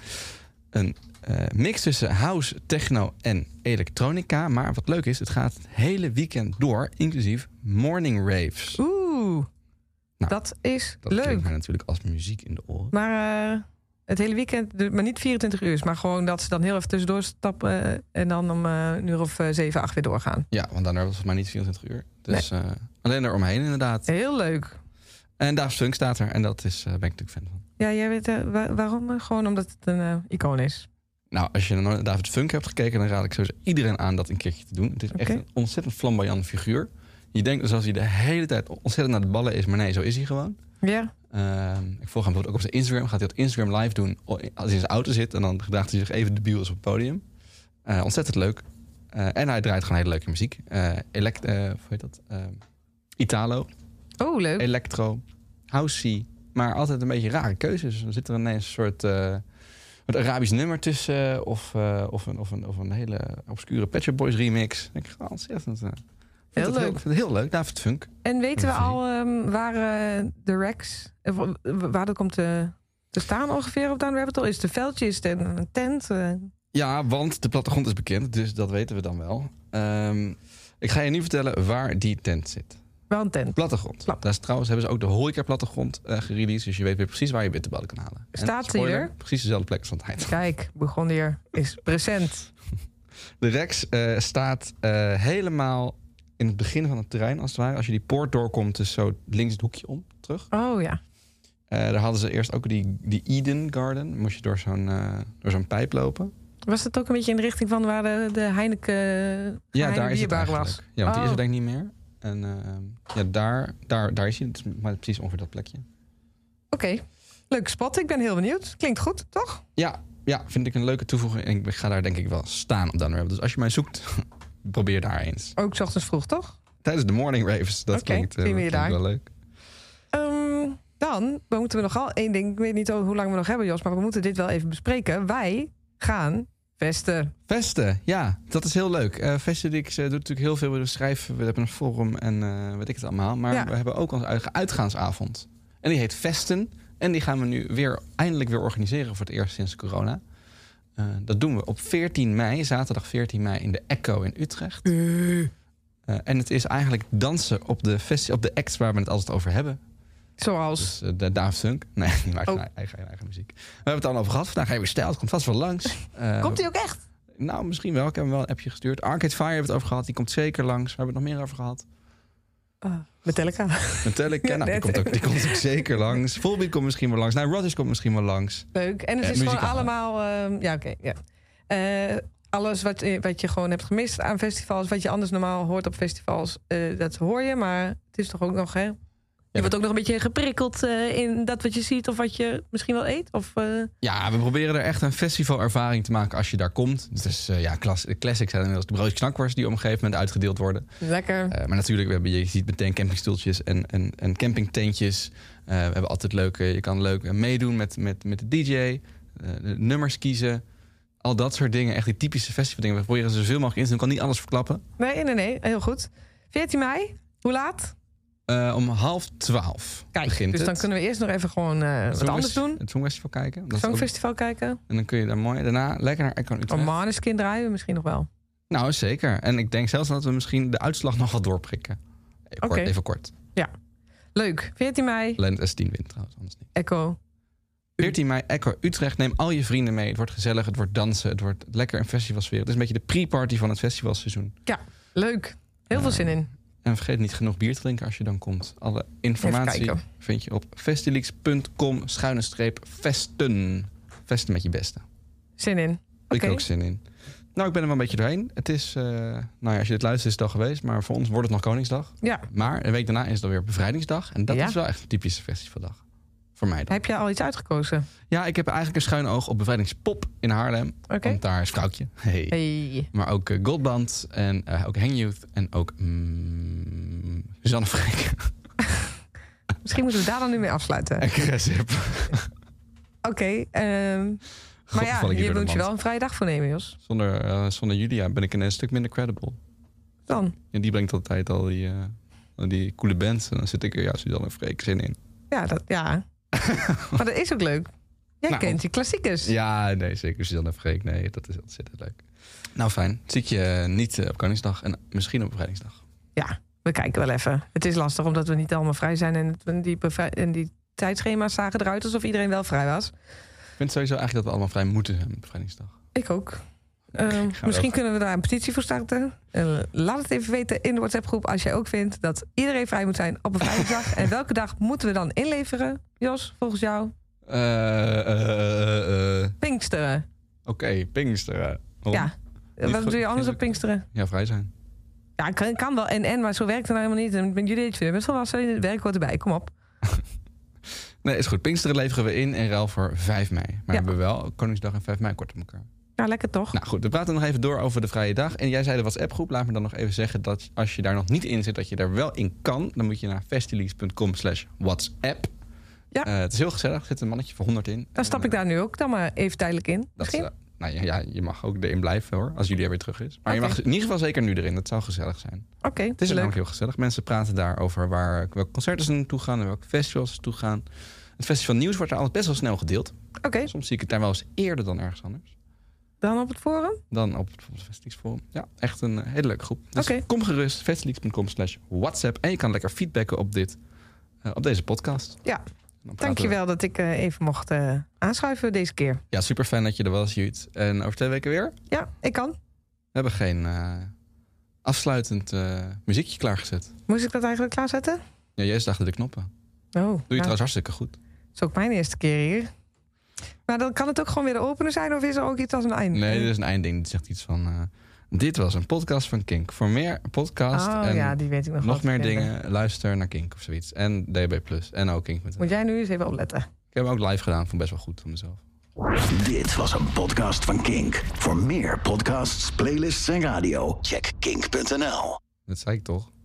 Speaker 3: een eh, mix tussen house, techno en elektronica. Maar wat leuk is, het gaat het hele weekend door, inclusief morning raves.
Speaker 4: Oeh.
Speaker 3: Nou,
Speaker 4: dat is
Speaker 3: Dat
Speaker 4: leuk.
Speaker 3: klinkt mij natuurlijk als muziek in de oren.
Speaker 4: Maar eh, het hele weekend, dus- maar niet 24 uur. Maar gewoon dat ze dan heel even tussendoor stappen. eh, en dan om eh, een uur of eh, 7, 8 weer doorgaan.
Speaker 3: Ja, want daarna was het volgens mij niet 24 uur. Dus eh, alleen eromheen inderdaad.
Speaker 4: Heel leuk.
Speaker 3: En Daft Punk staat er en dat is, eh, ben ik natuurlijk fan van.
Speaker 4: Ja, jij weet eh, wa- waarom? Eh, Gewoon omdat het een eh, icoon is.
Speaker 3: Nou, als je naar David Funk hebt gekeken, dan raad ik sowieso iedereen aan dat een keertje te doen. Het is echt
Speaker 4: Oké.
Speaker 3: een ontzettend flamboyant figuur. Je denkt dus als hij de hele tijd ontzettend naar de ballen is, maar nee, zo is hij gewoon.
Speaker 4: Ja,
Speaker 3: Ehm, ik volg hem bijvoorbeeld ook op zijn Instagram. Gaat hij dat Instagram live doen als hij in zijn auto zit en dan gedraagt hij zich even debiel als op het podium. Eh, ontzettend leuk. Eh, en hij draait gewoon hele leuke muziek. Eh elect, eh, hoe heet dat? Ehm, Italo.
Speaker 4: oh leuk.
Speaker 3: electro, housey, maar altijd een beetje rare keuzes. Dan zit er ineens een soort eh, een Arabisch nummer tussen of, eh, of, een, of, een, of een hele obscure Pet Shop Boys remix. Dan denk ik, oh, ontzettend. eh, ik vind
Speaker 4: Heel
Speaker 3: het
Speaker 4: leuk.
Speaker 3: ik vind het heel leuk, David Funk.
Speaker 4: En weten we
Speaker 3: Precies.
Speaker 4: al ehm, waar eh, de Rex, eh, wa- wa- waar dat komt te, te staan ongeveer op Down Rabbit Hole? Is het een veldje, is het een, een tent? eh?
Speaker 3: Ja, want de plattegrond is bekend, dus dat weten we dan wel. Ehm, ik ga je nu vertellen waar die tent zit.
Speaker 4: wel een tent.
Speaker 3: Plattegrond.
Speaker 4: Plat.
Speaker 3: Daar is trouwens hebben ze ook de horeca plattegrond eh gereleased, dus je weet weer precies waar je bitterballen kan halen. En
Speaker 4: Staat die
Speaker 3: spoiler,
Speaker 4: er?
Speaker 3: Precies dezelfde plek als van het eind.
Speaker 4: Kijk, begon hier, is present.
Speaker 3: De Rex eh, staat eh, helemaal in het begin van het terrein, als het ware. Als je die poort doorkomt, is zo links het hoekje om, terug.
Speaker 4: Oh ja,
Speaker 3: Eh, daar hadden ze eerst ook die, die Eden Garden. Moest je door zo'n eh, door zo'n pijp lopen.
Speaker 4: Was het ook een beetje in de richting van waar de, de Heineken
Speaker 3: Ja,
Speaker 4: Heineken
Speaker 3: daar is het
Speaker 4: bierbar
Speaker 3: eigenlijk.
Speaker 4: was?
Speaker 3: Ja, want die is er
Speaker 4: Oh.
Speaker 3: denk ik niet meer. En eh, ja, daar, daar, daar is hij. Het is Maar precies ongeveer dat plekje.
Speaker 4: Oké, leuke spot. Ik ben heel benieuwd. Klinkt goed, toch?
Speaker 3: Ja, ja, vind ik een leuke toevoeging. En ik ga daar denk ik wel staan op Dunweb. Dus als je mij zoekt, probeer daar eens.
Speaker 4: Ook 's ochtends vroeg, toch?
Speaker 3: Tijdens de morning raves. Dat
Speaker 4: Oké,
Speaker 3: klinkt, eh,
Speaker 4: zien we je
Speaker 3: dat klinkt
Speaker 4: daar.
Speaker 3: wel leuk.
Speaker 4: Ehm, dan we moeten we nogal één ding. Ik weet niet hoe lang we nog hebben, Jos, maar we moeten dit wel even bespreken. Wij gaan vesten.
Speaker 3: Vesten, ja, dat is heel leuk. Eh Vestedix eh, doet natuurlijk heel veel. We schrijven, we hebben een forum en eh, weet ik het allemaal. Maar
Speaker 4: Ja.
Speaker 3: we hebben ook onze eigen uitgaansavond. En die heet Vesten. En die gaan we nu weer eindelijk weer organiseren voor het eerst sinds corona. Eh, dat doen we op 14 mei, zaterdag 14 mei in de Echo in Utrecht. Eh, en het is eigenlijk dansen op de, festi- op de acts waar we het altijd over hebben.
Speaker 4: Zoals.
Speaker 3: Dus eh, de Daft Punk. Nee, die maakt
Speaker 4: Oh.
Speaker 3: zijn eigen, eigen muziek. We hebben het al over gehad. Vandaag hebben we stijl. Het komt vast wel langs. Eh,
Speaker 4: Komt hij ook echt?
Speaker 3: nou, misschien wel. Ik heb hem wel een appje gestuurd. Arcade Fire hebben we het over gehad. Die komt zeker langs. Waar hebben we het nog meer over gehad?
Speaker 4: Ah, Metallica.
Speaker 3: Metallica. nou, die,
Speaker 4: net.
Speaker 3: komt ook, die komt ook zeker langs. Volbeat komt misschien wel langs. Nou, Rodgers komt misschien wel langs.
Speaker 4: Leuk. En het
Speaker 3: Ja,
Speaker 4: is gewoon
Speaker 3: Eh, muzikaal.
Speaker 4: allemaal. ehm, ja, oké. ja. Eh, alles wat, eh, wat je gewoon hebt gemist aan festivals, wat je anders normaal hoort op festivals, eh, dat hoor je. Maar het is toch ook nog, hè? Je wordt ook nog een beetje geprikkeld eh, in dat wat je ziet of wat je misschien wel eet. Of, eh,
Speaker 3: Ja, we proberen er echt een festivalervaring te maken als je daar komt. Dus eh, ja, klas, de classics zijn inmiddels de broodjes knakworst die op een gegeven moment uitgedeeld worden.
Speaker 4: Lekker.
Speaker 3: Eh, maar natuurlijk, we hebben, je ziet meteen campingstoeltjes en, en, en campingtentjes. Eh, we hebben altijd leuke, je kan leuk eh, meedoen met, met, met de DJ, eh, de nummers kiezen. Al dat soort dingen, echt die typische festivaldingen. We proberen ze zoveel mogelijk in te doen. Ik kan niet alles verklappen.
Speaker 4: Nee, nee, nee. Heel goed. 14 mei. Hoe laat?
Speaker 3: Eh, om half twaalf begint
Speaker 4: dus
Speaker 3: het.
Speaker 4: dan kunnen we eerst nog even gewoon eh, wat anders doen.
Speaker 3: Het Songfestival kijken. Dat is
Speaker 4: Zo'n
Speaker 3: ook-
Speaker 4: festival kijken.
Speaker 3: en dan kun je daar mooi daarna lekker naar Icon Utrecht.
Speaker 4: Of Maneskin draaien we misschien nog wel.
Speaker 3: Nou, zeker. En ik denk zelfs dat we misschien de uitslag nog wat doorprikken. Even
Speaker 4: Oké.
Speaker 3: kort. Even kort.
Speaker 4: Leuk. 14 mei.
Speaker 3: Lent S10 wint trouwens, anders niet.
Speaker 4: Echo.
Speaker 3: 14 mei, Echo Utrecht. Neem al je vrienden mee. Het wordt gezellig, het wordt dansen, het wordt lekker een festivalsfeer. Het is een beetje de pre-party van het festivalseizoen.
Speaker 4: Leuk. Heel veel zin in.
Speaker 3: En vergeet niet genoeg bier te drinken als je dan komt. Alle informatie
Speaker 4: kijken.
Speaker 3: vind je op festilix.com schuine streep festen. Festen met je beste. Daar
Speaker 4: Zin in.
Speaker 3: heb
Speaker 4: Oké.
Speaker 3: ik ook zin in. Nou, ik ben er wel een beetje doorheen. Het is, eh, nou ja, als je dit luistert is het al geweest. Maar voor ons wordt het nog Koningsdag.
Speaker 4: Ja.
Speaker 3: Maar de week daarna is het alweer Bevrijdingsdag. En dat
Speaker 4: Ja.
Speaker 3: is wel echt een typische festivaldag. Voor mij dan.
Speaker 4: Heb je al iets uitgekozen?
Speaker 3: Ja, ik heb eigenlijk een schuin oog op Bevrijdingspop in Haarlem.
Speaker 4: Oké.
Speaker 3: Want daar is Vrouwtje. Hey.
Speaker 4: Hey.
Speaker 3: Maar ook eh, Goldband en eh, ook Hang Youth en ook mm, Suzanne Freek
Speaker 4: Misschien moeten we daar dan nu mee afsluiten.
Speaker 3: en Cresip.
Speaker 4: Oké. ehm, maar ja,
Speaker 3: val ik hier door de
Speaker 4: hier moet je
Speaker 3: mand.
Speaker 4: wel een vrije dag voor nemen, Jos.
Speaker 3: Zonder, eh, zonder Julia ben ik een stuk minder credible.
Speaker 4: Dan.
Speaker 3: En die brengt altijd al die, eh, al die coole bands. En dan zit ik er, ja, Suzanne Freek zin in.
Speaker 4: Ja, dat, ja. maar dat is ook leuk. Jij
Speaker 3: Nou.
Speaker 4: kent die klassiekers.
Speaker 3: Ja, nee, zeker Suzanne Freek. Nee, dat is ontzettend leuk. Nou, fijn. Zie ik je eh, niet eh, op Koningsdag en misschien op Bevrijdingsdag.
Speaker 4: ja, we kijken wel even. Het is lastig omdat we niet allemaal vrij zijn. En, het- en die, bevrij- en die tijdschema's zagen eruit alsof iedereen wel vrij was.
Speaker 3: Ik vind sowieso eigenlijk dat we allemaal vrij moeten zijn op Bevrijdingsdag.
Speaker 4: Ik ook. Ehm,
Speaker 3: erover.
Speaker 4: misschien kunnen we daar een petitie voor starten. Eh, laat het even weten in de WhatsApp-groep als jij ook vindt dat iedereen vrij moet zijn op een vrijdag. en welke dag moeten we dan inleveren, Jos, volgens jou?
Speaker 3: Eh, eh, eh, eh.
Speaker 4: Pinksteren.
Speaker 3: Oké, Pinksteren. Waarom?
Speaker 4: Ja.
Speaker 3: Niet
Speaker 4: Wat
Speaker 3: goed,
Speaker 4: doe je anders
Speaker 3: vind
Speaker 4: op
Speaker 3: ik.
Speaker 4: Pinksteren?
Speaker 3: Ja, vrij zijn.
Speaker 4: Ja, kan, kan wel en en, maar zo werkt het nou helemaal niet. En met jullie het weer met volwassen, het werk hoort erbij. Kom op.
Speaker 3: Nee, is goed. Pinksteren leveren we in in ruil voor 5 mei. Maar
Speaker 4: Ja.
Speaker 3: hebben we wel Koningsdag en 5 mei kort op elkaar.
Speaker 4: Ja, lekker toch?
Speaker 3: Nou goed, we praten nog even door over de vrije dag. En jij zei de WhatsApp-groep. Laat me dan nog even zeggen dat als je daar nog niet in zit, dat je daar wel in kan. Dan moet je naar festileaks.com slash WhatsApp.
Speaker 4: Ja.
Speaker 3: Eh, het is heel gezellig. Er zit een mannetje voor 100 in. Eh,
Speaker 4: dan stap ik daar nu ook dan maar even tijdelijk in.
Speaker 3: Dat
Speaker 4: Misschien?
Speaker 3: is, eh, nou ja, ja, je mag ook erin blijven hoor, als Julia weer terug is. Maar
Speaker 4: Oké.
Speaker 3: je mag in ieder geval zeker nu erin. Dat zou gezellig zijn.
Speaker 4: Oké,
Speaker 3: Het is
Speaker 4: leuk.
Speaker 3: namelijk heel gezellig. Mensen praten daar over waar, welke concerten ze naartoe gaan en welke festivals ze naartoe gaan. Het festival nieuws wordt daar altijd best wel snel gedeeld.
Speaker 4: Oké,
Speaker 3: Soms zie ik het daar wel eens eerder dan ergens anders.
Speaker 4: dan op het forum.
Speaker 3: Dan op het Festivalforum. Ja, echt een eh, hele leuke groep. Dus
Speaker 4: Oké.
Speaker 3: kom gerust, festileaks.com slash whatsapp. En je kan lekker feedbacken op, dit, eh, op deze podcast. En
Speaker 4: Ja,
Speaker 3: dan praten
Speaker 4: dankjewel dat ik eh, even mocht eh, aanschuiven deze keer.
Speaker 3: we- Ja, super fijn dat je er was, Jut. En over twee weken weer.
Speaker 4: Ja, ik kan.
Speaker 3: We hebben geen eh, afsluitend eh, muziekje klaargezet.
Speaker 4: Moest ik dat eigenlijk klaarzetten?
Speaker 3: Ja, jij is achter de knoppen. Doe je
Speaker 4: Oh, nou,
Speaker 3: trouwens hartstikke goed.
Speaker 4: het is ook mijn eerste keer hier. Maar dan kan het ook gewoon weer de opener zijn of is er ook iets als een einde?
Speaker 3: Nee, dit is een eindding. Dit zegt iets van... eh, dit was een podcast van Kink. Voor meer podcast
Speaker 4: Oh
Speaker 3: en
Speaker 4: ja, die weet ik nog wel
Speaker 3: nog
Speaker 4: te
Speaker 3: meer
Speaker 4: vinden.
Speaker 3: dingen, luister naar Kink of zoiets. En DB Plus. En ook Kink. Met
Speaker 4: Moet jij nu eens even opletten.
Speaker 3: Ik heb hem ook live gedaan. Vond best wel goed van mezelf.
Speaker 1: Dit was een podcast van Kink. Voor meer podcasts, playlists en radio, check kink.nl.
Speaker 3: Dat zei ik toch?